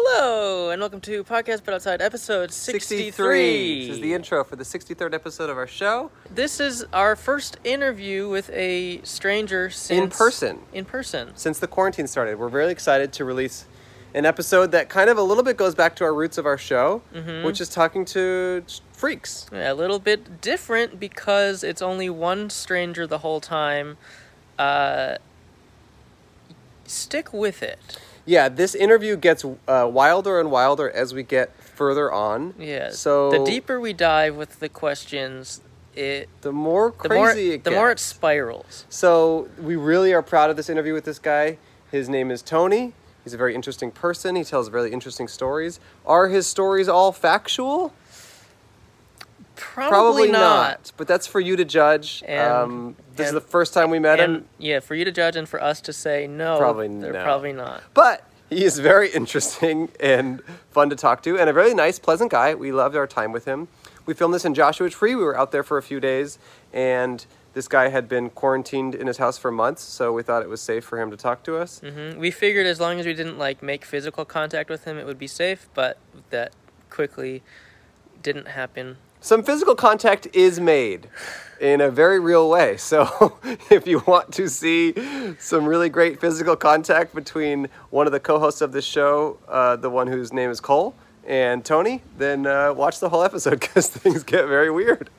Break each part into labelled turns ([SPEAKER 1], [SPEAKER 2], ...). [SPEAKER 1] Hello, and welcome to Podcast But Outside, episode 63.
[SPEAKER 2] 63. This is the intro for the 63rd episode of our show.
[SPEAKER 1] This is our first interview with a stranger since.
[SPEAKER 2] person.
[SPEAKER 1] In person.
[SPEAKER 2] Since the quarantine started, we're really excited to release an episode that kind of a little bit goes back to our roots of our show,
[SPEAKER 1] Mm-hmm.
[SPEAKER 2] which is talking to freaks.
[SPEAKER 1] A little bit different because it's only one stranger the whole time. Uh, stick with it.
[SPEAKER 2] Yeah, this interview gets uh, wilder and wilder as we get further on.
[SPEAKER 1] Yeah.
[SPEAKER 2] So
[SPEAKER 1] the deeper we dive with the questions, it
[SPEAKER 2] the more
[SPEAKER 1] the
[SPEAKER 2] crazy
[SPEAKER 1] more
[SPEAKER 2] it
[SPEAKER 1] the more it
[SPEAKER 2] gets.
[SPEAKER 1] spirals.
[SPEAKER 2] So we really are proud of this interview with this guy. His name is Tony. He's a very interesting person. He tells very interesting stories. Are his stories all factual?
[SPEAKER 1] Probably,
[SPEAKER 2] Probably
[SPEAKER 1] not.
[SPEAKER 2] But that's for you to judge.
[SPEAKER 1] And-
[SPEAKER 2] um, this
[SPEAKER 1] and-
[SPEAKER 2] is the first time we met
[SPEAKER 1] And
[SPEAKER 2] him,
[SPEAKER 1] yeah, for you to judge and for us to say no,
[SPEAKER 2] Probably
[SPEAKER 1] they're
[SPEAKER 2] no.
[SPEAKER 1] probably not.
[SPEAKER 2] but he is very interesting and fun to talk to, and a very nice, pleasant guy. We loved our time with him. We filmed this in Joshua Tree. We were out there for a few days, and this guy had been quarantined in his house for months, so we thought it was safe for him to talk to us.
[SPEAKER 1] Mhm. We figured as long as we didn't like make physical contact with him, it would be safe, but that quickly didn't happen.
[SPEAKER 2] some physical contact is made in a very real way. So if you want to see some really great physical contact between one of the co-hosts of this show, uh, the one whose name is Cole, and Tony, then uh, watch the whole episode because things get very weird.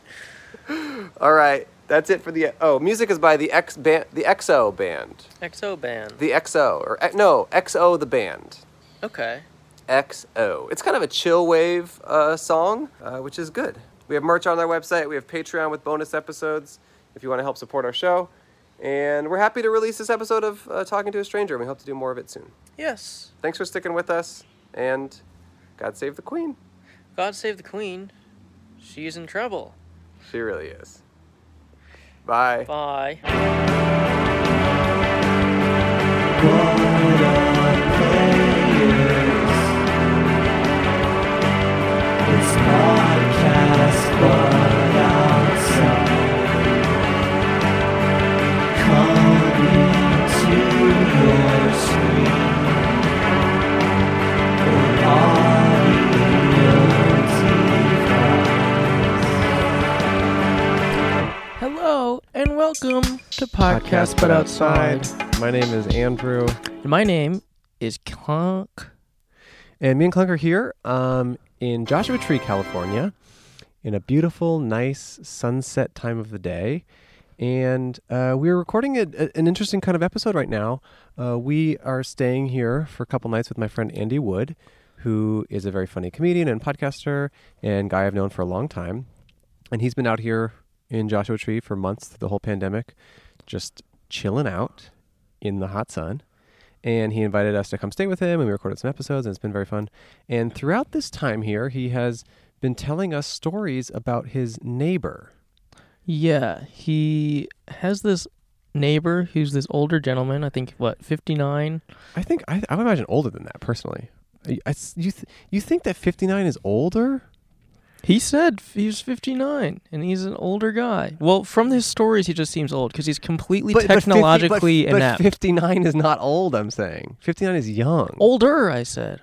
[SPEAKER 2] All right, that's it for the. Oh, music is by the X band, the XO band,
[SPEAKER 1] XO band.
[SPEAKER 2] the XO or eh, no XO the band.
[SPEAKER 1] okay.
[SPEAKER 2] XO. It's kind of a chill wave uh, song, uh, which is good. We have merch on our website. We have Patreon with bonus episodes if you want to help support our show. And we're happy to release this episode of uh, Talking to a Stranger, and we hope to do more of it soon.
[SPEAKER 1] Yes.
[SPEAKER 2] Thanks for sticking with us, and God save the Queen.
[SPEAKER 1] God save the queen. She's in trouble.
[SPEAKER 2] She really is. Bye.
[SPEAKER 1] Bye.
[SPEAKER 3] It's podcast, but outside. Coming to your screen. Or audio device.
[SPEAKER 1] Hello and welcome to
[SPEAKER 2] My name is Andrew,
[SPEAKER 1] My name is Clunk.
[SPEAKER 2] and me and Clunk are here um, in Joshua Tree, California, in a beautiful, nice sunset time of the day. and uh, we're recording a, a- an interesting kind of episode right now. Uh, we are staying here for a couple nights with my friend Andy Wood, who is a very funny comedian and podcaster and guy I've known for a long time. And he's been out here in Joshua Tree for months through the whole pandemic, just chilling out in the hot sun. And he invited us to come stay with him, and we recorded some episodes, and it's been very fun. And throughout this time here, he has been telling us stories about his neighbor.
[SPEAKER 1] Yeah, he has this neighbor who's this older gentleman, I think what, 59?
[SPEAKER 2] I think I, I would imagine older than that personally. I- I s- you th- you think that fifty nine is older?
[SPEAKER 1] He said f- he was 59 and he's an older guy. Well, from his stories, he just seems old because he's completely technologically
[SPEAKER 2] but, 50 but,
[SPEAKER 1] inept.
[SPEAKER 2] But fifty nine is not old. I'm saying fifty nine is young.
[SPEAKER 1] older, I said.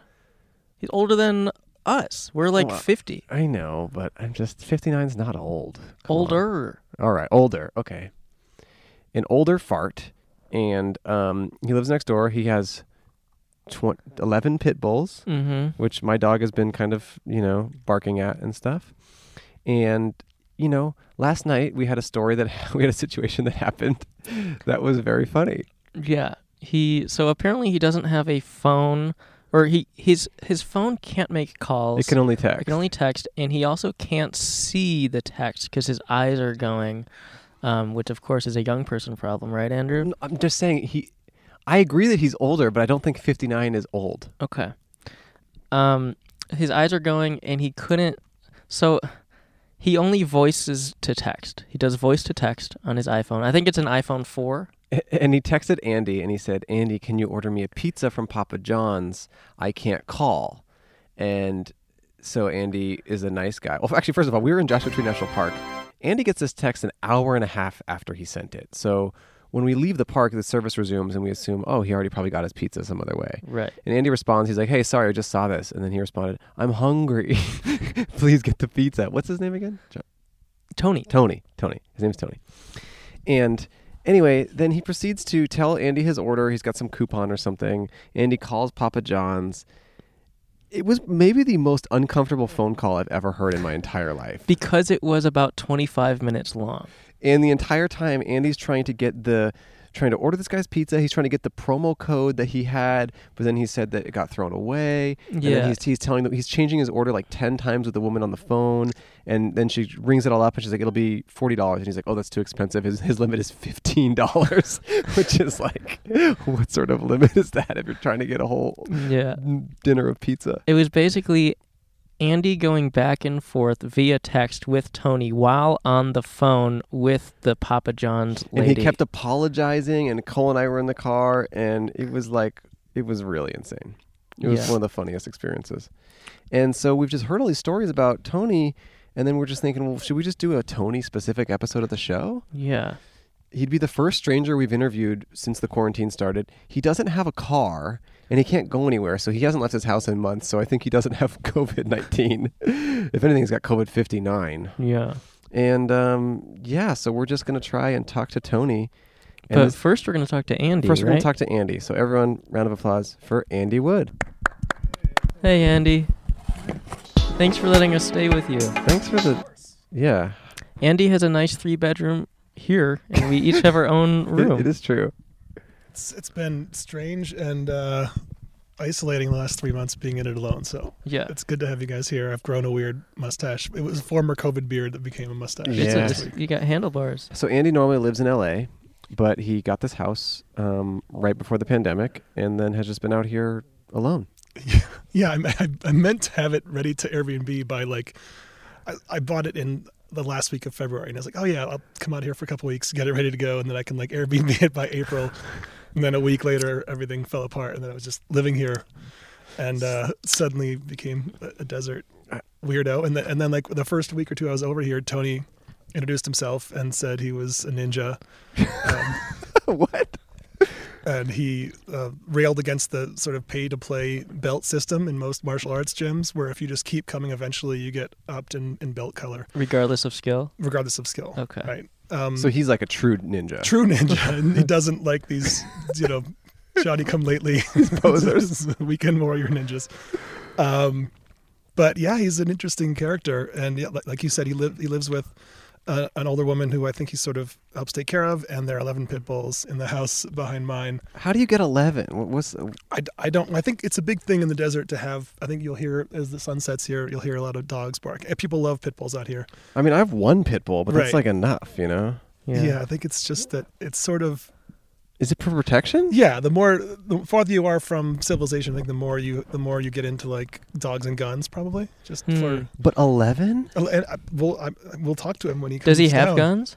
[SPEAKER 1] He's older than us. We're like
[SPEAKER 2] Well,
[SPEAKER 1] 50.
[SPEAKER 2] I know, but I'm just fifty nine is not old. Come on.
[SPEAKER 1] Older.
[SPEAKER 2] All right, older. Okay. An older fart, and um, he lives next door. He has tw- eleven pit bulls.
[SPEAKER 1] Mm-hmm.
[SPEAKER 2] which my dog has been kind of, you know, barking at and stuff. And, you know, last night we had a story that we had a situation that happened that was very funny.
[SPEAKER 1] Yeah. He so apparently he doesn't have a phone or he his his phone can't make calls.
[SPEAKER 2] It can only
[SPEAKER 1] It
[SPEAKER 2] text.
[SPEAKER 1] can only text and he also can't see the text because his eyes are going um, which of course is a young person problem, right, Andrew?
[SPEAKER 2] I'm just saying he I agree that he's older, but I don't think 59 is old.
[SPEAKER 1] Okay. Um, his eyes are going, and he couldn't. So he only voices to text. He does voice to text on his iPhone. I think it's an iPhone four.
[SPEAKER 2] A- And he texted Andy and he said, "Andy, can you order me a pizza from Papa John's? I can't call." And so Andy is a nice guy. Well, actually, first of all, we were in Joshua Tree National Park. Andy gets this text an hour and a half after he sent it. So When we leave the park, the service resumes, and we assume, oh, he already probably got his pizza some other way.
[SPEAKER 1] Right.
[SPEAKER 2] And Andy responds, he's like, hey, sorry, I just saw this. And then he responded, I'm hungry. Please get the pizza. What's his name again? Jo-
[SPEAKER 1] Tony.
[SPEAKER 2] Tony. Tony. His name's Tony. And anyway, then he proceeds to tell Andy his order. He's got some coupon or something. Andy calls Papa John's. It was maybe the most uncomfortable phone call I've ever heard in my entire life.
[SPEAKER 1] Because it was about 25 minutes long.
[SPEAKER 2] And the entire time, Andy's trying to get the trying to order this guy's pizza. He's trying to get the promo code that he had, but then he said that it got thrown away. And then
[SPEAKER 1] Yeah.
[SPEAKER 2] he's, he's telling them he's changing his order like ten times with the woman on the phone, and then she rings it all up and she's like, "It'll be forty dollars," and he's like, "Oh, that's too expensive. His his limit is fifteen dollars," which is like, what sort of limit is that if you're trying to get a whole
[SPEAKER 1] Yeah.
[SPEAKER 2] dinner of pizza?
[SPEAKER 1] It was basically Andy going back and forth via text with Tony while on the phone with the Papa John's
[SPEAKER 2] And
[SPEAKER 1] lady.
[SPEAKER 2] he kept apologizing, and Cole and I were in the car, and it was like, it was really insane. It was
[SPEAKER 1] Yeah.
[SPEAKER 2] one of the funniest experiences. And so we've just heard all these stories about Tony, and then we're just thinking, well, should we just do a Tony specific episode of the show?
[SPEAKER 1] Yeah.
[SPEAKER 2] He'd be the first stranger we've interviewed since the quarantine started. He doesn't have a car, and he can't go anywhere, so he hasn't left his house in months, so I think he doesn't have COVID 19. if anything, he's got COVID 59.
[SPEAKER 1] Yeah.
[SPEAKER 2] And um, yeah, so we're just going to try and talk to Tony. And
[SPEAKER 1] But
[SPEAKER 2] this-
[SPEAKER 1] first, we're going to talk to Andy.
[SPEAKER 2] First, we're going
[SPEAKER 1] right?
[SPEAKER 2] to talk to Andy. So, everyone, round of applause for Andy Wood.
[SPEAKER 1] Hey, Andy. Thanks for letting us stay with you.
[SPEAKER 2] Thanks for the. Yeah.
[SPEAKER 1] Andy has a nice three bedroom here, and we each have our own
[SPEAKER 2] It-
[SPEAKER 1] room.
[SPEAKER 2] it is true.
[SPEAKER 4] It's, it's been strange and uh, isolating the last three months being in it alone. So
[SPEAKER 1] Yeah.
[SPEAKER 4] it's good to have you guys here. I've grown a weird mustache. It was a former COVID beard that became a mustache.
[SPEAKER 1] It's a-
[SPEAKER 2] Yeah.
[SPEAKER 1] it's- you got handlebars.
[SPEAKER 2] So, Andy normally lives in LA, but he got this house um, right before the pandemic and then has just been out here alone.
[SPEAKER 4] Yeah, I, I, I meant to have it ready to Airbnb by like, I, I bought it in the last week of February, and I was like, oh yeah, I'll come out here for a couple weeks, get it ready to go, and then I can like Airbnb it by April. And then a week later, everything fell apart, and then I was just living here, and uh, suddenly became a- a desert weirdo. And then, and then like the first week or two I was over here, Tony introduced himself and said he was a ninja. Um,
[SPEAKER 2] what?
[SPEAKER 4] and he uh, railed against the sort of pay to play belt system in most martial arts gyms, where if you just keep coming, eventually you get upped in, in belt color,
[SPEAKER 1] Regardless of skill.
[SPEAKER 4] regardless of skill.
[SPEAKER 1] Okay.
[SPEAKER 4] Right. Um,
[SPEAKER 2] So, he's like a true ninja.
[SPEAKER 4] true ninja, and he doesn't like these, you know, Johnny come lately
[SPEAKER 2] posers.
[SPEAKER 4] weekend warrior ninjas. Um, but yeah, he's an interesting character, and yeah, like, like you said, he live he lives with. Uh, an older woman who I think he sort of helps take care of, and there are 11 pit bulls in the house behind mine.
[SPEAKER 2] How do you get 11? What- What's.
[SPEAKER 4] I, I don't I think it's a big thing in the desert to have I think you'll hear as the sun sets here you'll hear a lot of dogs bark. And People love pit bulls out here.
[SPEAKER 2] I mean, I have one pit bull, but that's like
[SPEAKER 4] Right.
[SPEAKER 2] enough, you know?
[SPEAKER 1] Yeah.
[SPEAKER 4] I think it's just that it's sort of
[SPEAKER 2] Is it for protection?
[SPEAKER 4] yeah, the more the farther you are from civilization, I think the more you the more you get into like dogs and guns probably. Just
[SPEAKER 1] Hmm.
[SPEAKER 4] for
[SPEAKER 2] But 11?
[SPEAKER 4] and I, we'll I, we'll talk to him when he comes
[SPEAKER 1] Does he have
[SPEAKER 4] down.
[SPEAKER 1] guns?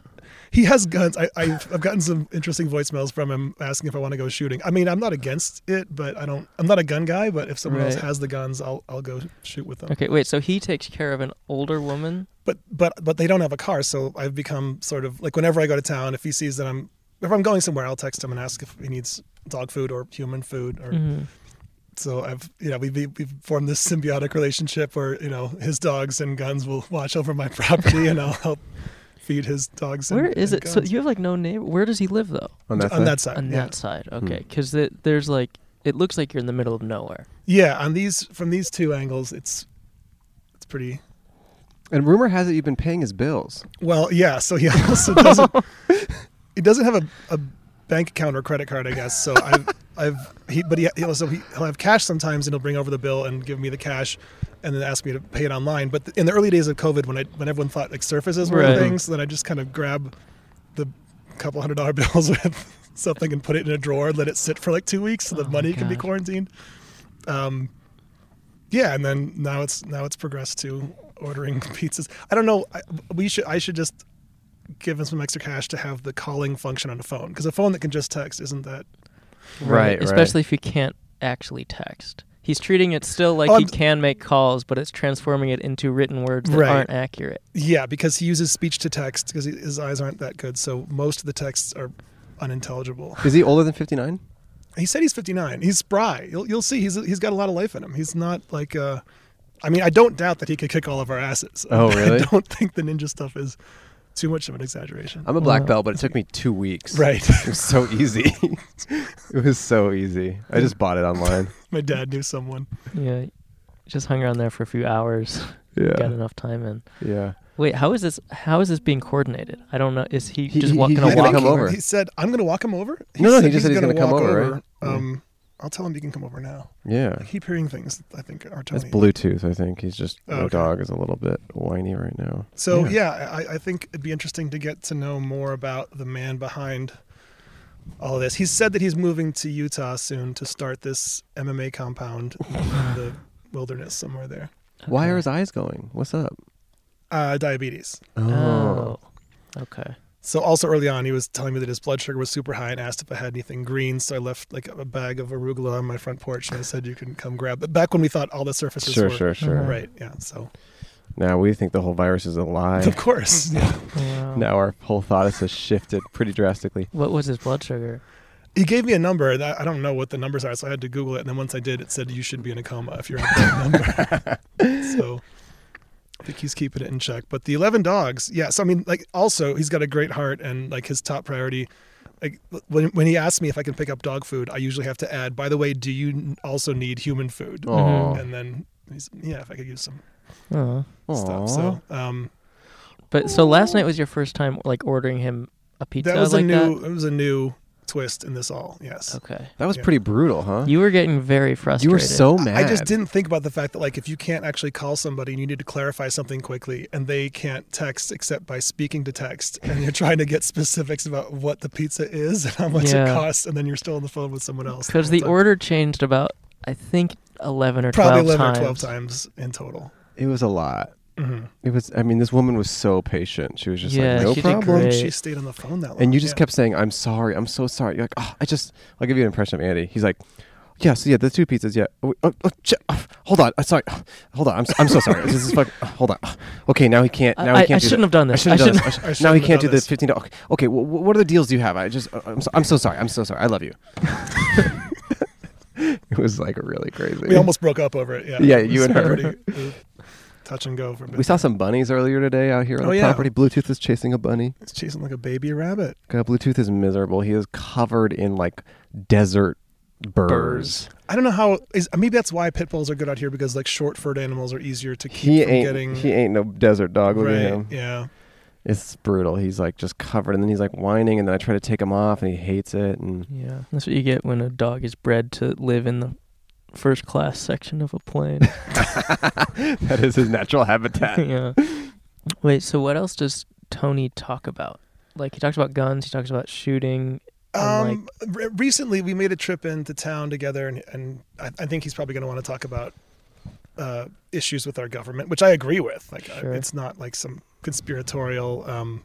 [SPEAKER 4] He has guns. I, I've, I've gotten some interesting voicemails from him asking if I want to go shooting. I mean, I'm not against it, but I don't. I'm not a gun guy. But if someone else
[SPEAKER 1] Right.
[SPEAKER 4] has the guns, I'll I'll go shoot with them.
[SPEAKER 1] Okay, wait. So he takes care of an older woman.
[SPEAKER 4] but but but they don't have a car so i've become sort of like whenever i go to town if he sees that i'm if i'm going somewhere i'll text him and ask if he needs dog food or human food or
[SPEAKER 1] Mhm.
[SPEAKER 4] so i've you know we've, we've formed this symbiotic relationship where you know his dogs and guns will watch over my property and i'll help feed his dogs and-
[SPEAKER 1] Where is
[SPEAKER 4] and
[SPEAKER 1] it? So
[SPEAKER 4] guns.
[SPEAKER 1] you have like no neighbor. Where does he live though?
[SPEAKER 2] On that
[SPEAKER 4] on
[SPEAKER 2] side?
[SPEAKER 4] that side
[SPEAKER 1] On
[SPEAKER 4] yeah. Hmm.
[SPEAKER 1] that side. Okay, because there's like it looks like you're in the middle of nowhere.
[SPEAKER 4] yeah on these from these two angles it's it's pretty
[SPEAKER 2] And rumor has it you've been paying his bills.
[SPEAKER 4] Well, yeah. So he also doesn't. he doesn't have a, a bank account or credit card, I guess. So I've, I've he, but he, he also he, he'll have cash sometimes, and he'll bring over the bill and give me the cash, and then ask me to pay it online. But in the early days of COVID, when I when everyone thought like surfaces were
[SPEAKER 1] Right.
[SPEAKER 4] a thing, so then I just kind of grab the couple hundred dollar bills with something and put it in a drawer, let it sit for like two weeks so the
[SPEAKER 1] Oh my
[SPEAKER 4] money can be
[SPEAKER 1] God.
[SPEAKER 4] quarantined. Um, yeah, and then now it's now it's progressed to ordering pizzas. I don't know. I, we should I should just give him some extra cash to have the calling function on a phone because a phone that can just text isn't that.
[SPEAKER 2] Right, right.
[SPEAKER 1] Especially if you can't actually text. He's treating it still like
[SPEAKER 4] Oh,
[SPEAKER 1] he
[SPEAKER 4] I'm-
[SPEAKER 1] can make calls, but it's transforming it into written words that
[SPEAKER 4] Right.
[SPEAKER 1] aren't accurate.
[SPEAKER 4] Yeah, because he uses speech to text because his eyes aren't that good, so most of the texts are unintelligible.
[SPEAKER 2] Is he older than 59?
[SPEAKER 4] He said he's 59. He's spry. You'll, you'll see. He's he's got a lot of life in him. He's not like. Uh, I mean, I don't doubt that he could kick all of our asses.
[SPEAKER 2] Oh, really?
[SPEAKER 4] I don't think the ninja stuff is too much of an exaggeration.
[SPEAKER 2] I'm a black
[SPEAKER 1] Wow.
[SPEAKER 2] belt, but it took me two weeks.
[SPEAKER 4] right.
[SPEAKER 2] It was so easy. it was so easy. I just bought it online.
[SPEAKER 4] My dad knew someone.
[SPEAKER 1] Yeah. Just hung around there for a few hours. Got
[SPEAKER 2] Yeah.
[SPEAKER 1] enough time in.
[SPEAKER 2] Yeah.
[SPEAKER 1] Wait, how is this? How is this being coordinated? I don't know. Is he,
[SPEAKER 2] He-
[SPEAKER 1] just
[SPEAKER 2] he-
[SPEAKER 1] walking
[SPEAKER 2] he's
[SPEAKER 1] walk?
[SPEAKER 2] gonna come over.
[SPEAKER 4] He said, "I'm going to walk him over."
[SPEAKER 2] No, no, he
[SPEAKER 4] said
[SPEAKER 2] just said he's gonna come
[SPEAKER 4] walk
[SPEAKER 2] over, right? Mm.
[SPEAKER 4] Um, I'll tell him he can come over now.
[SPEAKER 2] Yeah.
[SPEAKER 4] I keep hearing things. that I think are
[SPEAKER 2] That's
[SPEAKER 4] Tony.
[SPEAKER 2] Bluetooth, I think. He's just,
[SPEAKER 4] Oh,
[SPEAKER 2] our
[SPEAKER 4] okay.
[SPEAKER 2] dog is a little bit whiny right now.
[SPEAKER 4] So yeah, I, I think it'd be interesting to get to know more about the man behind all of this. He's said that he's moving to Utah soon to start this MMA compound in the wilderness somewhere there.
[SPEAKER 2] Why are his eyes going? What's up?
[SPEAKER 4] Uh, diabetes.
[SPEAKER 1] Oh. Okay.
[SPEAKER 4] So also early on, he was telling me that his blood sugar was super high and asked if I had anything green. So I left like a bag of arugula on my front porch and I said you can come grab. But back when we thought all the surfaces
[SPEAKER 2] Sure,
[SPEAKER 4] were
[SPEAKER 2] sure, sure.
[SPEAKER 1] Mhm.
[SPEAKER 4] right, yeah. So
[SPEAKER 2] Now we think the whole virus is a lie.
[SPEAKER 4] of course, yeah.
[SPEAKER 1] Wow.
[SPEAKER 2] now our whole thought has shifted pretty drastically.
[SPEAKER 1] What was his blood sugar?
[SPEAKER 4] He gave me a number. and I I don't know what the numbers are, so I had to Google it. And then once I did, it said you should be in a coma if you're at that number. so I think he's keeping it in check. But the eleven dogs, yeah. So I mean, like, also he's got a great heart, and like his top priority. Like when when he asks me if I can pick up dog food, I usually have to add. By the way, do you n- also need human food?
[SPEAKER 2] Aw.
[SPEAKER 4] And then he's yeah, if I could use some
[SPEAKER 1] Oh.
[SPEAKER 4] stuff. So um,
[SPEAKER 1] But so last night was your first time like ordering him a pizza
[SPEAKER 4] that was
[SPEAKER 1] like
[SPEAKER 4] a new
[SPEAKER 1] that.
[SPEAKER 4] it was a new twist in this all. Yes.
[SPEAKER 1] Okay.
[SPEAKER 2] That was
[SPEAKER 4] Yeah.
[SPEAKER 2] pretty brutal, huh?
[SPEAKER 1] You were getting very frustrated.
[SPEAKER 2] You were so mad.
[SPEAKER 4] I- I just didn't think about the fact that like if you can't actually call somebody and you need to clarify something quickly and they can't text except by speaking to text and you're trying to get specifics about what the pizza is and how much
[SPEAKER 1] Yeah.
[SPEAKER 4] it costs and then you're still on the phone with someone else.
[SPEAKER 1] because
[SPEAKER 4] whole
[SPEAKER 1] the
[SPEAKER 4] time.
[SPEAKER 1] order changed about I think eleven or
[SPEAKER 4] probably
[SPEAKER 1] 12
[SPEAKER 4] eleven
[SPEAKER 1] times.
[SPEAKER 4] or twelve times in total.
[SPEAKER 2] It was a lot.
[SPEAKER 4] Mm-hmm.
[SPEAKER 2] It was. I mean, this woman was so patient. She was just
[SPEAKER 1] Yeah,
[SPEAKER 2] like, no
[SPEAKER 1] she did
[SPEAKER 2] problem.
[SPEAKER 1] great.
[SPEAKER 4] She stayed on the phone that long.
[SPEAKER 2] And you just
[SPEAKER 4] yeah.
[SPEAKER 2] kept saying, "I'm sorry. I'm so sorry." You're like, "Oh, I just." I'll give you an impression of Andy. He's like, "Yeah, so yeah, the two pizzas. Yeah. Oh, oh, oh, ch- oh, hold on. I'm sorry. Oh, Hold on. I'm, s- I'm so sorry. this is fuck. oh, hold on. Oh, Okay, now he can't.
[SPEAKER 1] I,
[SPEAKER 2] Now
[SPEAKER 1] I-
[SPEAKER 2] he can't
[SPEAKER 1] I
[SPEAKER 2] do
[SPEAKER 1] shouldn't
[SPEAKER 2] that.
[SPEAKER 1] have done
[SPEAKER 2] I
[SPEAKER 1] this.
[SPEAKER 2] shouldn't have done
[SPEAKER 1] shouldn't-
[SPEAKER 2] this. I sh-
[SPEAKER 4] I
[SPEAKER 2] now he
[SPEAKER 4] shouldn't have
[SPEAKER 2] can't do
[SPEAKER 4] done
[SPEAKER 2] the
[SPEAKER 4] this.
[SPEAKER 2] fifteen dollars. Okay, okay wh- wh- what are the deals you have? I just, uh, I'm so, I'm so sorry. I'm so sorry. I love you. it was like really crazy.
[SPEAKER 4] We almost broke up over it. Yeah.
[SPEAKER 2] Yeah,
[SPEAKER 4] It
[SPEAKER 2] you
[SPEAKER 4] was
[SPEAKER 2] and her.
[SPEAKER 4] pretty, uh, touch and go for a bit.
[SPEAKER 2] We saw some bunnies earlier today out here on
[SPEAKER 4] Oh,
[SPEAKER 2] the
[SPEAKER 4] yeah.
[SPEAKER 2] property. Bluetooth is chasing a bunny.
[SPEAKER 4] It's chasing like a baby rabbit.
[SPEAKER 2] God, Bluetooth is miserable. He is covered in like desert burrs.
[SPEAKER 4] I don't know how is maybe that's why pit bulls are good out here because like short furred animals are easier to keep
[SPEAKER 2] He
[SPEAKER 4] from
[SPEAKER 2] ain't
[SPEAKER 4] getting
[SPEAKER 2] he ain't no desert dog. Look at
[SPEAKER 4] right.
[SPEAKER 2] him.
[SPEAKER 4] Yeah.
[SPEAKER 2] It's brutal. He's like just covered, and then he's like whining, and then I try to take him off, and he hates it. And
[SPEAKER 1] Yeah, that's what you get when a dog is bred to live in the first class section of a plane.
[SPEAKER 2] that is his natural habitat.
[SPEAKER 1] yeah. Wait, so what else does Tony talk about? Like he talks about guns, he talks about shooting. and,
[SPEAKER 4] Um, re- recently we made a trip into town together, and, and I, I think he's probably going to want to talk about uh, issues with our government, which I agree with. Like, I-
[SPEAKER 1] Sure.
[SPEAKER 4] it's not like some conspiratorial. Um,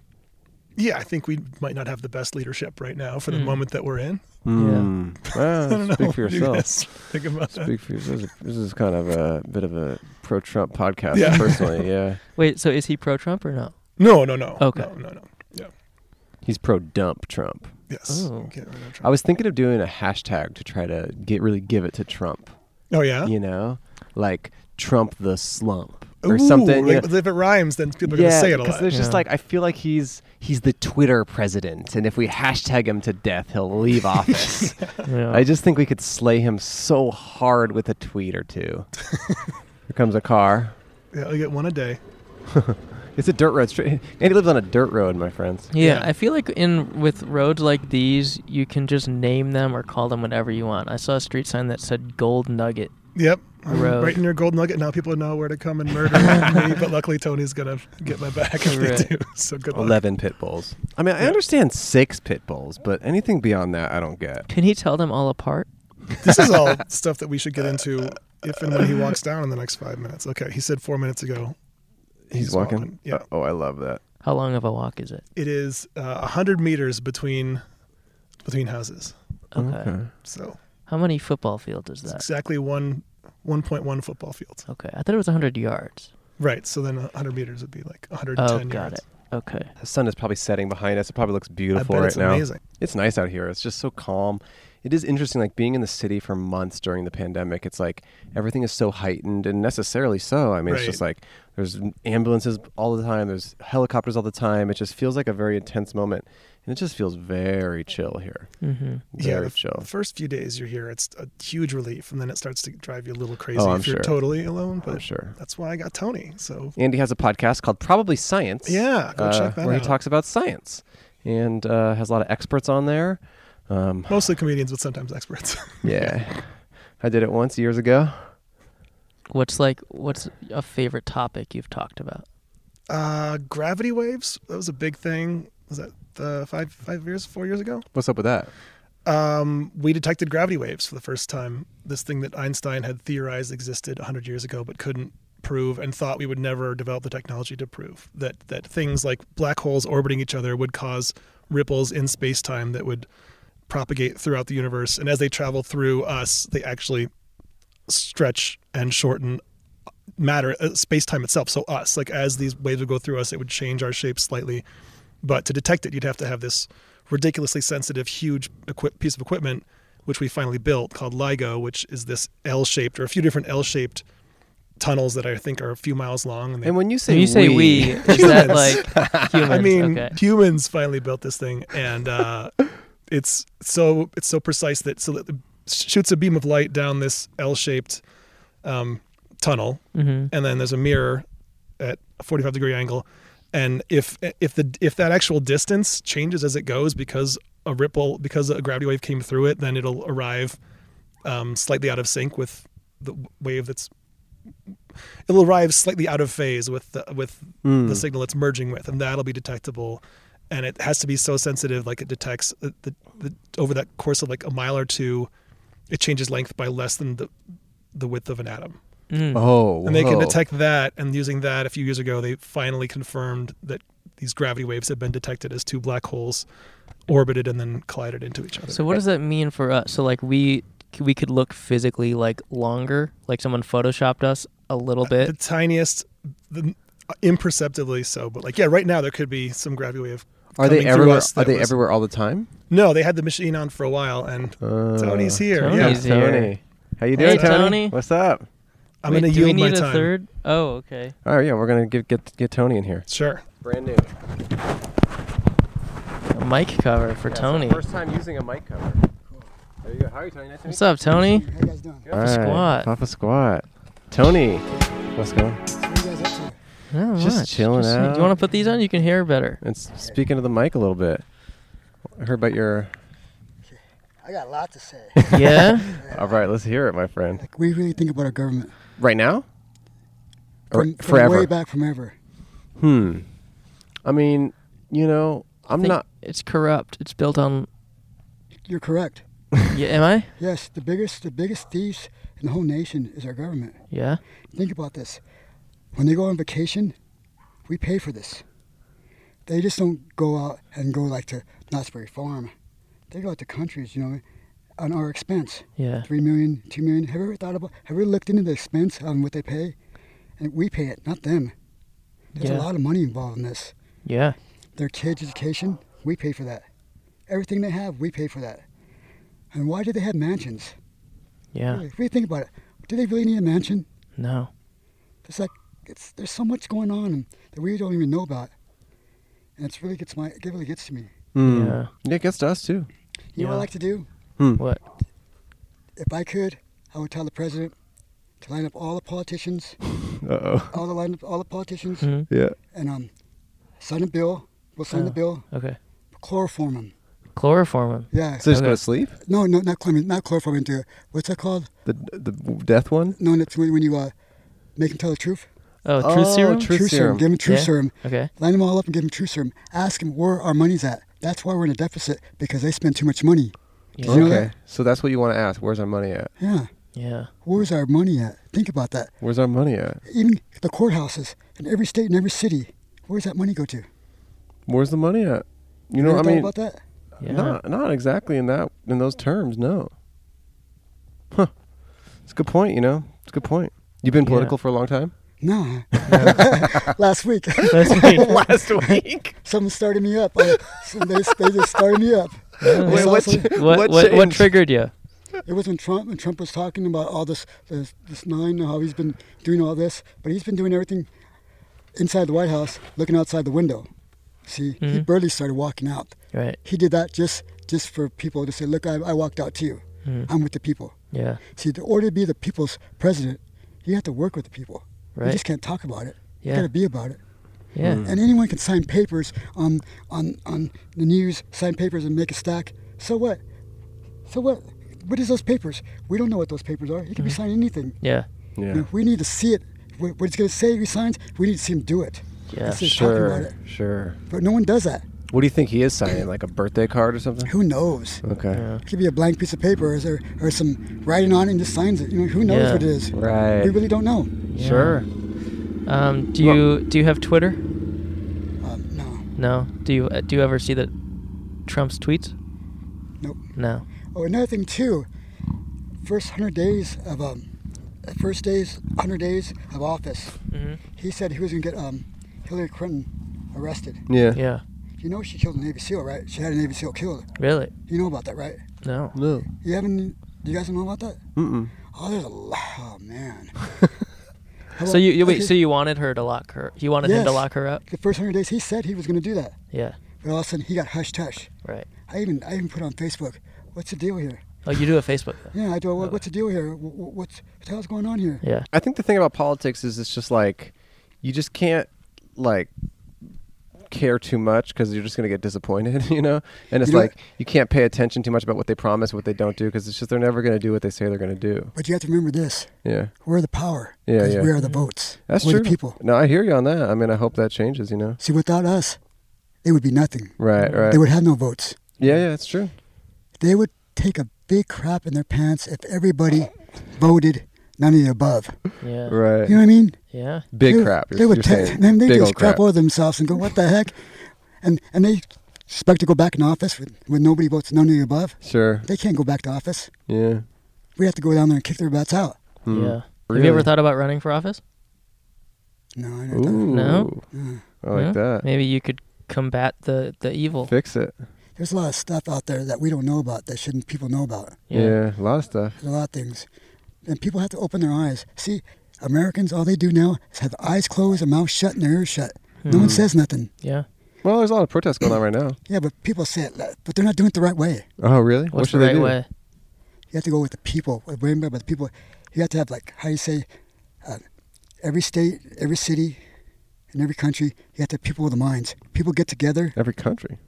[SPEAKER 4] yeah, I think we might not have the best leadership right now for the
[SPEAKER 1] Mm.
[SPEAKER 4] moment that we're in.
[SPEAKER 2] Mm. Wow,
[SPEAKER 4] I don't know.
[SPEAKER 2] Hmm. speak for
[SPEAKER 4] What do you
[SPEAKER 2] yourself.
[SPEAKER 4] guys Think about that.
[SPEAKER 2] Speak for yourself. This is kind of a bit of a pro-Trump podcast,
[SPEAKER 4] Yeah.
[SPEAKER 2] personally. Yeah,
[SPEAKER 1] like, wait, so is he pro Trump or no?
[SPEAKER 4] No, no, no.
[SPEAKER 1] Okay.
[SPEAKER 4] No, no, no.
[SPEAKER 2] he's pro-dump Trump.
[SPEAKER 4] Yes.
[SPEAKER 1] Oh.
[SPEAKER 4] Get rid of Trump.
[SPEAKER 2] I was thinking of doing a hashtag to try to get really give it to Trump.
[SPEAKER 4] oh yeah.
[SPEAKER 2] you know, like Trump the slump
[SPEAKER 4] Ooh,
[SPEAKER 2] or something. you
[SPEAKER 4] Like,
[SPEAKER 2] know?
[SPEAKER 4] if it rhymes, then people are
[SPEAKER 2] yeah,
[SPEAKER 4] going to say it a
[SPEAKER 2] because
[SPEAKER 4] lot.
[SPEAKER 2] there's just
[SPEAKER 1] Yeah.
[SPEAKER 2] like I feel like he's he's the Twitter president, and if we hashtag him to death, he'll leave office.
[SPEAKER 1] Yeah.
[SPEAKER 2] I just think we could slay him so hard with a tweet or two. Here comes a car.
[SPEAKER 4] Yeah, I get one a day.
[SPEAKER 2] It's a dirt road. Straight. Andy lives on a dirt road, my friends.
[SPEAKER 1] yeah,
[SPEAKER 4] yeah.
[SPEAKER 1] I feel like in with roads like these, you can just name them or call them whatever you want. I saw a street sign that said Gold Nugget.
[SPEAKER 4] Yep. I'm
[SPEAKER 1] Road.
[SPEAKER 4] right in your gold nugget. Now people know where to come and murder me. But luckily, Tony's going to get my back if
[SPEAKER 1] Right.
[SPEAKER 4] they do. So good luck.
[SPEAKER 2] Eleven pit bulls. I mean, I
[SPEAKER 4] Yeah.
[SPEAKER 2] understand six pit bulls, but anything beyond that, I don't get.
[SPEAKER 1] Can he tell them all apart?
[SPEAKER 4] This is all stuff that we should get into if and when he walks down in the next five minutes. Okay. He said four minutes ago.
[SPEAKER 2] He's,
[SPEAKER 4] He's
[SPEAKER 2] walking.
[SPEAKER 4] walking, yeah.
[SPEAKER 2] Oh, I love that.
[SPEAKER 1] How long of a walk is it?
[SPEAKER 4] It is uh, 100 meters between between houses.
[SPEAKER 2] Uh,
[SPEAKER 1] Okay.
[SPEAKER 4] So
[SPEAKER 1] How many football fields is
[SPEAKER 4] it's
[SPEAKER 1] that? Oh.
[SPEAKER 4] exactly one. 1.1 football fields.
[SPEAKER 1] Okay. I thought it was 100 yards.
[SPEAKER 4] Right. So then 100 meters would be like 110
[SPEAKER 1] Oh, got
[SPEAKER 4] yards.
[SPEAKER 1] it. Okay.
[SPEAKER 2] The sun is probably setting behind us. It probably looks
[SPEAKER 4] I
[SPEAKER 2] beautiful
[SPEAKER 4] bet
[SPEAKER 2] right
[SPEAKER 4] it's
[SPEAKER 2] now.
[SPEAKER 4] amazing.
[SPEAKER 2] It's nice out here. It's just so calm. It is interesting, like being in the city for months during the pandemic. It's like everything is so heightened and necessarily so. I mean, it's
[SPEAKER 4] Right.
[SPEAKER 2] just like there's ambulances all the time, there's helicopters all the time. It just feels like a very intense moment. And it just feels very chill here.
[SPEAKER 1] Mm-hmm.
[SPEAKER 4] yeah,
[SPEAKER 2] Very
[SPEAKER 4] the, f-
[SPEAKER 2] chill.
[SPEAKER 4] the first few days you're here, it's a huge relief, and then it starts to drive you a little crazy
[SPEAKER 2] Oh, I'm
[SPEAKER 4] if you're
[SPEAKER 2] sure.
[SPEAKER 4] totally alone.
[SPEAKER 2] For
[SPEAKER 4] But
[SPEAKER 2] sure.
[SPEAKER 4] that's why I got Tony. So
[SPEAKER 2] Andy has a podcast called Probably Science.
[SPEAKER 4] yeah, go
[SPEAKER 2] uh,
[SPEAKER 4] check that
[SPEAKER 2] where
[SPEAKER 4] out.
[SPEAKER 2] he talks about science and uh, has a lot of experts on there. Um,
[SPEAKER 4] Mostly comedians, but sometimes experts.
[SPEAKER 2] yeah. I did it once years ago.
[SPEAKER 1] What's like? What's a favorite topic you've talked about?
[SPEAKER 4] uh, gravity waves. That was a big thing. Was that the five five years, four years ago?
[SPEAKER 2] What's up with that?
[SPEAKER 4] um, we detected gravity waves for the first time. This thing that Einstein had theorized existed 100 years ago, but couldn't prove, and thought we would never develop the technology to prove that that things like black holes orbiting each other would cause ripples in space-time that would propagate throughout the universe, and as they travel through us, they actually stretch and shorten matter uh, space-time itself so us like as these waves would go through us it would change our shape slightly but to detect it you'd have to have this ridiculously sensitive huge equip- piece of equipment which we finally built called ligo which is this l-shaped or a few different l-shaped tunnels that i think are a few miles long and they
[SPEAKER 2] And when you say
[SPEAKER 1] When you say we, is that like humans?
[SPEAKER 4] I mean,
[SPEAKER 1] okay.
[SPEAKER 4] humans finally built this thing, and uh, it's so it's so precise that so that it shoots a beam of light down this L-shaped um, tunnel,
[SPEAKER 1] Mm-hmm.
[SPEAKER 4] and then there's a mirror at a 45 degree angle, and if if the if that actual distance changes as it goes because a ripple because a gravity wave came through it, then it'll arrive um, slightly out of sync with the wave that's it'll arrive slightly out of phase with the, with
[SPEAKER 2] mm. Hmm.
[SPEAKER 4] the signal it's merging with, and that'll be detectable. And it has to be so sensitive, like it detects the, the, the, over that course of like a mile or two, it changes length by less than the the width of an atom.
[SPEAKER 1] Mm.
[SPEAKER 2] oh,
[SPEAKER 4] And they can
[SPEAKER 2] whoa.
[SPEAKER 4] detect that. And using that, a few years ago, they finally confirmed that these gravity waves had been detected as two black holes orbited and then collided into each other.
[SPEAKER 1] So what does that mean for us? So like we we could look physically like longer, like someone photoshopped us a little
[SPEAKER 4] the
[SPEAKER 1] bit.
[SPEAKER 4] tiniest, the, imperceptibly so, but like yeah, right now there could be some gravity wave.
[SPEAKER 2] Are they
[SPEAKER 4] coming through
[SPEAKER 2] everywhere?
[SPEAKER 4] us
[SPEAKER 2] Are
[SPEAKER 4] that
[SPEAKER 2] they
[SPEAKER 4] was-
[SPEAKER 2] everywhere all the time?
[SPEAKER 4] No, they had the machine on for a while, and
[SPEAKER 2] Uh,
[SPEAKER 4] Tony's here.
[SPEAKER 1] Tony's-
[SPEAKER 4] Yeah,
[SPEAKER 1] He's here.
[SPEAKER 2] Tony. How you doing,
[SPEAKER 1] Hey,
[SPEAKER 2] Tony?
[SPEAKER 1] Tony.
[SPEAKER 2] What's up?
[SPEAKER 4] I'm
[SPEAKER 1] Wait,
[SPEAKER 4] gonna
[SPEAKER 1] do
[SPEAKER 4] yield
[SPEAKER 1] we need
[SPEAKER 4] my
[SPEAKER 1] a
[SPEAKER 4] time.
[SPEAKER 1] third? Oh, okay.
[SPEAKER 2] All right, yeah, we're gonna give, get get Tony in here.
[SPEAKER 4] Sure.
[SPEAKER 2] Brand new
[SPEAKER 1] A mic cover for Tony.
[SPEAKER 2] time using a mic cover. There you go. How are you, Tony? Nice to
[SPEAKER 1] What's up, Tony?
[SPEAKER 5] How you guys doing?
[SPEAKER 2] All right,
[SPEAKER 1] Squat.
[SPEAKER 2] Papa squat. Tony, what's going? on?
[SPEAKER 5] What are you guys up to?
[SPEAKER 1] Not
[SPEAKER 2] Just
[SPEAKER 1] much.
[SPEAKER 2] chilling out.
[SPEAKER 1] You want to put these on? You can hear better.
[SPEAKER 2] And s- speaking of the mic a little bit, I heard about your.
[SPEAKER 5] I got a lot to say.
[SPEAKER 1] yeah.
[SPEAKER 2] All right, let's hear it, my friend.
[SPEAKER 5] like, what do you really think about our government?
[SPEAKER 2] Right now, or
[SPEAKER 5] From- from
[SPEAKER 2] forever?
[SPEAKER 5] Way back from ever.
[SPEAKER 2] Hmm. I mean, you know, I'm
[SPEAKER 1] Think
[SPEAKER 2] not.
[SPEAKER 1] It's corrupt. It's built on.
[SPEAKER 5] You're correct.
[SPEAKER 1] Yeah, am I?
[SPEAKER 5] Yes, the biggest, the biggest thieves in the whole nation is our government.
[SPEAKER 1] Yeah.
[SPEAKER 5] Think about this. When they go on vacation, we pay for this. They just don't go out and go like to Knott's Berry Farm. They go out to countries, you know, on our expense.
[SPEAKER 1] Yeah.
[SPEAKER 5] Three million, two million. Have you ever thought about? Have you ever looked into the expense on what they pay? And we pay it, not them. There's
[SPEAKER 1] Yeah.
[SPEAKER 5] a lot of money involved in this.
[SPEAKER 1] Yeah.
[SPEAKER 5] Their kids' education, we pay for that. Everything they have, we pay for that. And why do they have mansions?
[SPEAKER 1] Yeah.
[SPEAKER 5] Really, if we think about it, do they really need a mansion?
[SPEAKER 1] No.
[SPEAKER 5] It's like it's, there's so much going on that we don't even know about, and it's really gets my it really gets to me.
[SPEAKER 2] Hmm.
[SPEAKER 1] Yeah.
[SPEAKER 2] Yeah, it gets to us too.
[SPEAKER 5] You know what I
[SPEAKER 1] Yeah.
[SPEAKER 5] like to do?
[SPEAKER 1] What?
[SPEAKER 5] If I could, I would tell the president to line up all the politicians,
[SPEAKER 2] Uh oh.
[SPEAKER 5] all the line up all the politicians,
[SPEAKER 1] hmm
[SPEAKER 2] Yeah.
[SPEAKER 5] and um, sign a bill. We'll sign the
[SPEAKER 1] Oh.
[SPEAKER 5] bill.
[SPEAKER 1] Okay.
[SPEAKER 5] Chloroform them.
[SPEAKER 1] Chloroform 'em.
[SPEAKER 5] Yeah. Uh,
[SPEAKER 2] So just
[SPEAKER 1] Okay.
[SPEAKER 2] go to sleep.
[SPEAKER 5] no, no, not chloroform. Not chloroform. Into what's that called?
[SPEAKER 2] The the death one.
[SPEAKER 5] No, that's when, when you uh, make them tell the truth.
[SPEAKER 1] Oh, truth
[SPEAKER 2] Oh,
[SPEAKER 1] serum.
[SPEAKER 2] truth-
[SPEAKER 5] True serum.
[SPEAKER 2] serum.
[SPEAKER 5] Give them true
[SPEAKER 1] Yeah.
[SPEAKER 5] serum.
[SPEAKER 1] Okay.
[SPEAKER 5] Line them all up and give them true serum. Ask them where our money's at. That's why we're in a deficit because they spend too much money.
[SPEAKER 1] Yeah.
[SPEAKER 5] You know
[SPEAKER 2] Okay.
[SPEAKER 5] that?
[SPEAKER 2] So that's what you want to ask. Where's our money at?
[SPEAKER 5] Yeah.
[SPEAKER 1] Yeah.
[SPEAKER 5] Where's our money at? Think about that.
[SPEAKER 2] Where's our money at?
[SPEAKER 5] Even the courthouses in every state and every city. Where's that money go to?
[SPEAKER 2] Where's the money at? You know,
[SPEAKER 5] ever
[SPEAKER 2] I
[SPEAKER 5] thought
[SPEAKER 2] mean,
[SPEAKER 5] about that?
[SPEAKER 1] Yeah.
[SPEAKER 2] not not exactly in that in those terms. No. Huh. It's a good point. You know, it's a good point. You've been
[SPEAKER 1] Yeah.
[SPEAKER 2] political for a long time.
[SPEAKER 5] No. Last week.
[SPEAKER 1] Last week.
[SPEAKER 2] Last week.
[SPEAKER 5] Someone started me up. I, so they, they just started me up. I
[SPEAKER 2] Wait,
[SPEAKER 5] saw
[SPEAKER 2] what,
[SPEAKER 5] some-
[SPEAKER 1] What what, what,
[SPEAKER 2] changed?
[SPEAKER 1] triggered you?
[SPEAKER 5] It was when Trump and Trump was talking about all this this, this nine, how he's been doing all this, but he's been doing everything inside the White House, looking outside the window. See, he
[SPEAKER 1] Mhm.
[SPEAKER 5] barely started walking out.
[SPEAKER 1] Right.
[SPEAKER 5] He did that just just for people to say, "Look, I, I walked out too.
[SPEAKER 1] Mhm.
[SPEAKER 5] I'm with the people."
[SPEAKER 1] Yeah.
[SPEAKER 5] See, in order to be the people's president, you have to work with the people. You
[SPEAKER 1] Right.
[SPEAKER 5] just can't talk about it. You
[SPEAKER 1] Yeah.
[SPEAKER 5] gotta Hmm. be about it.
[SPEAKER 1] Yeah.
[SPEAKER 5] And anyone can sign papers on on on the news, sign papers and make a stack. So what? So what? What is those papers? We don't know what those papers are. He can be signing anything.
[SPEAKER 1] Yeah.
[SPEAKER 5] You
[SPEAKER 2] Yeah.
[SPEAKER 5] know, we need to see it. What what he's gonna say he signs, we need to see him do it.
[SPEAKER 1] Yeah.
[SPEAKER 5] That's it. talking
[SPEAKER 2] Sure.
[SPEAKER 5] about
[SPEAKER 2] Sure.
[SPEAKER 5] But no one does that.
[SPEAKER 2] What do you think he is signing? Like a birthday card or something?
[SPEAKER 5] Who knows?
[SPEAKER 2] Okay.
[SPEAKER 1] Yeah.
[SPEAKER 5] It could be a blank piece of paper or, or some writing on it and just signs it. You know, who knows
[SPEAKER 1] Yeah.
[SPEAKER 5] what it is?
[SPEAKER 2] Right.
[SPEAKER 5] We really don't know.
[SPEAKER 1] Yeah.
[SPEAKER 2] Sure.
[SPEAKER 1] Um, do
[SPEAKER 2] Well-
[SPEAKER 1] you do you have Twitter?
[SPEAKER 5] Um, no.
[SPEAKER 1] No. Do you uh, do you ever see the Trump's tweets?
[SPEAKER 5] Nope.
[SPEAKER 1] No.
[SPEAKER 5] Oh, another thing too. First hundred days of um, first days hundred days of office.
[SPEAKER 1] hmm
[SPEAKER 5] He said he was gonna get um, Hillary Clinton arrested.
[SPEAKER 2] Yeah.
[SPEAKER 1] Yeah.
[SPEAKER 5] You know she killed a Navy SEAL, right? She had a Navy SEAL killed.
[SPEAKER 1] Really?
[SPEAKER 5] You know about that, right?
[SPEAKER 1] No.
[SPEAKER 2] No.
[SPEAKER 5] You haven't? You guys don't know about that?
[SPEAKER 2] Mm-mm.
[SPEAKER 5] Oh, there's a lot. Oh man. How
[SPEAKER 1] So
[SPEAKER 5] about-
[SPEAKER 1] you, you wait.
[SPEAKER 5] okay,
[SPEAKER 1] So you wanted her to lock her? You wanted him to
[SPEAKER 5] Yes.
[SPEAKER 1] lock her up?
[SPEAKER 5] the first hundred days he said he was gonna do that,
[SPEAKER 1] Yeah.
[SPEAKER 5] but all of a sudden he got hushed hush.
[SPEAKER 1] Right.
[SPEAKER 5] I even I even put on Facebook. What's the deal here?
[SPEAKER 1] Oh, you do a Facebook. Though.
[SPEAKER 5] Yeah, I do. What, what's the deal here? Wh- wh- What's what the hell's going on here?
[SPEAKER 1] Yeah.
[SPEAKER 2] I think the thing about politics is it's just like you just can't like care too much because you're just going to get disappointed, you know? And it's
[SPEAKER 5] You know-
[SPEAKER 2] like you can't pay attention too much about what they promise, what they don't do because it's just they're never going to do what they say they're going to do.
[SPEAKER 5] But you have to remember this.
[SPEAKER 2] Yeah.
[SPEAKER 5] We're the power.
[SPEAKER 2] Yeah,
[SPEAKER 5] 'cause
[SPEAKER 2] yeah.
[SPEAKER 5] We are the votes.
[SPEAKER 2] That's
[SPEAKER 5] We're
[SPEAKER 2] true.
[SPEAKER 5] the people.
[SPEAKER 2] No, I hear you on that. I mean, I hope that changes, you know?
[SPEAKER 5] See, without us, they would be nothing.
[SPEAKER 2] Right, right.
[SPEAKER 5] They would have no votes.
[SPEAKER 2] yeah, yeah, it's true.
[SPEAKER 5] They would take a big crap in their pants if everybody voted none of the above.
[SPEAKER 1] Yeah.
[SPEAKER 2] Right.
[SPEAKER 5] You know what I mean?
[SPEAKER 1] Yeah.
[SPEAKER 2] Big
[SPEAKER 5] They would-
[SPEAKER 2] crap. You're,
[SPEAKER 5] They would
[SPEAKER 2] you're
[SPEAKER 5] take.
[SPEAKER 2] saying
[SPEAKER 5] Then they
[SPEAKER 2] big
[SPEAKER 5] just
[SPEAKER 2] old
[SPEAKER 5] crap
[SPEAKER 2] crap.
[SPEAKER 5] over themselves and go, "What the heck?" And and they expect to go back in office with, with nobody votes none of the above.
[SPEAKER 2] Sure.
[SPEAKER 5] They can't go back to office.
[SPEAKER 2] Yeah.
[SPEAKER 5] We have to go down there and kick their butts out.
[SPEAKER 2] Hmm.
[SPEAKER 1] Yeah. Have
[SPEAKER 2] Really?
[SPEAKER 1] you ever thought about running for office?
[SPEAKER 5] No, I don't. know.
[SPEAKER 2] Ooh.
[SPEAKER 1] No?
[SPEAKER 2] I like
[SPEAKER 1] Yeah?
[SPEAKER 2] that.
[SPEAKER 1] Hmm? Maybe you could combat the the evil.
[SPEAKER 2] Fix it.
[SPEAKER 5] There's a lot of stuff out there that we don't know about that shouldn't people know about.
[SPEAKER 2] Yeah. a lot of stuff.
[SPEAKER 5] There's a lot of things. And people have to open their eyes. See, Americans, all they do now is have eyes closed and mouth shut and their ears shut. No
[SPEAKER 2] Hmm.
[SPEAKER 5] one says nothing.
[SPEAKER 1] Yeah.
[SPEAKER 2] Well, there's a lot of protests going on right now.
[SPEAKER 5] Yeah, but people say it, like- but they're not doing it the right way.
[SPEAKER 2] Oh, really?
[SPEAKER 1] What's
[SPEAKER 2] should
[SPEAKER 1] the
[SPEAKER 2] they
[SPEAKER 1] right
[SPEAKER 2] do?
[SPEAKER 1] way?
[SPEAKER 5] You have to go with the people. Remember, the people. You have to have like how you say, uh, every state, every city, and every country. You have to have people with the minds. People get together.
[SPEAKER 2] Every country.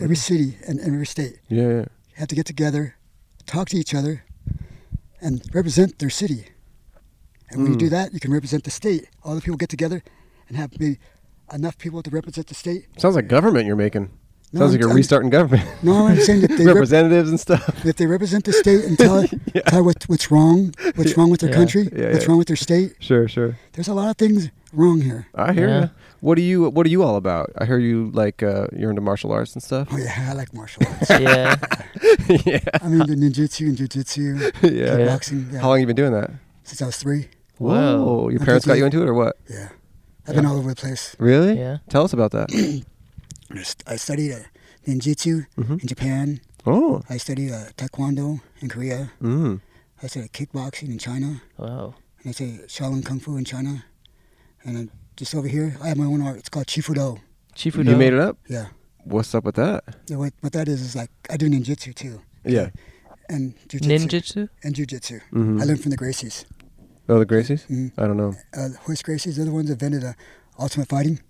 [SPEAKER 5] Every
[SPEAKER 2] Mm-hmm.
[SPEAKER 5] city and every state
[SPEAKER 2] Yeah, yeah.
[SPEAKER 5] have to get together, talk to each other, and represent their city. And when you
[SPEAKER 2] Mm.
[SPEAKER 5] do that, you can represent the state. All the people get together and have maybe enough people to represent the state.
[SPEAKER 2] Sounds like government you're making.
[SPEAKER 5] No,
[SPEAKER 2] Sounds
[SPEAKER 5] I'm-
[SPEAKER 2] like you're
[SPEAKER 5] I'm-
[SPEAKER 2] restarting government.
[SPEAKER 5] No, I'm saying that they rep-
[SPEAKER 2] Representatives and stuff.
[SPEAKER 5] if they represent the state and tell it, tell what, what's wrong, what's wrong with their
[SPEAKER 1] Yeah.
[SPEAKER 5] country,
[SPEAKER 2] Yeah,
[SPEAKER 5] what's
[SPEAKER 2] yeah.
[SPEAKER 5] wrong with their state.
[SPEAKER 2] Sure, sure.
[SPEAKER 5] There's a lot of things wrong here.
[SPEAKER 2] I hear
[SPEAKER 1] Yeah.
[SPEAKER 2] you. What are you What are you all about? I hear you like uh, you're into martial arts and stuff.
[SPEAKER 5] Oh yeah, I like martial arts.
[SPEAKER 1] yeah.
[SPEAKER 2] yeah,
[SPEAKER 5] I'm into ninjutsu and jujitsu,
[SPEAKER 2] yeah.
[SPEAKER 5] kickboxing. Yeah,
[SPEAKER 2] How long you been doing that?
[SPEAKER 5] Since I was three.
[SPEAKER 1] Whoa.
[SPEAKER 2] Whoa, your
[SPEAKER 5] I
[SPEAKER 2] parents
[SPEAKER 5] think
[SPEAKER 2] got
[SPEAKER 5] we-
[SPEAKER 2] you into it or what?
[SPEAKER 5] Yeah, I've been
[SPEAKER 1] Yeah.
[SPEAKER 5] all over the place.
[SPEAKER 2] Really?
[SPEAKER 1] Yeah.
[SPEAKER 2] Tell us about that.
[SPEAKER 5] I st- I studied uh, ninjutsu
[SPEAKER 2] Mm-hmm.
[SPEAKER 5] in Japan.
[SPEAKER 2] oh,
[SPEAKER 5] I studied uh, taekwondo in Korea.
[SPEAKER 2] mm.
[SPEAKER 5] I studied kickboxing in China.
[SPEAKER 1] Wow.
[SPEAKER 5] And I studied Shaolin Kung Fu in China. And I'm just over here, I have my own art. It's called Chifudo.
[SPEAKER 1] Chief
[SPEAKER 2] you made it up.
[SPEAKER 5] Yeah.
[SPEAKER 2] What's up with that?
[SPEAKER 5] Yeah, What, what that is is like I do ninjutsu too,
[SPEAKER 2] Yeah.
[SPEAKER 5] and jujitsu.
[SPEAKER 1] Ninjutsu.
[SPEAKER 5] and jujitsu.
[SPEAKER 2] Mhm.
[SPEAKER 5] I learned from the Gracies.
[SPEAKER 2] Oh, the Gracies.
[SPEAKER 5] Mhm.
[SPEAKER 2] I don't know.
[SPEAKER 5] Uh, Hoist Gracies, they're the ones that invented uh, Ultimate Fighting.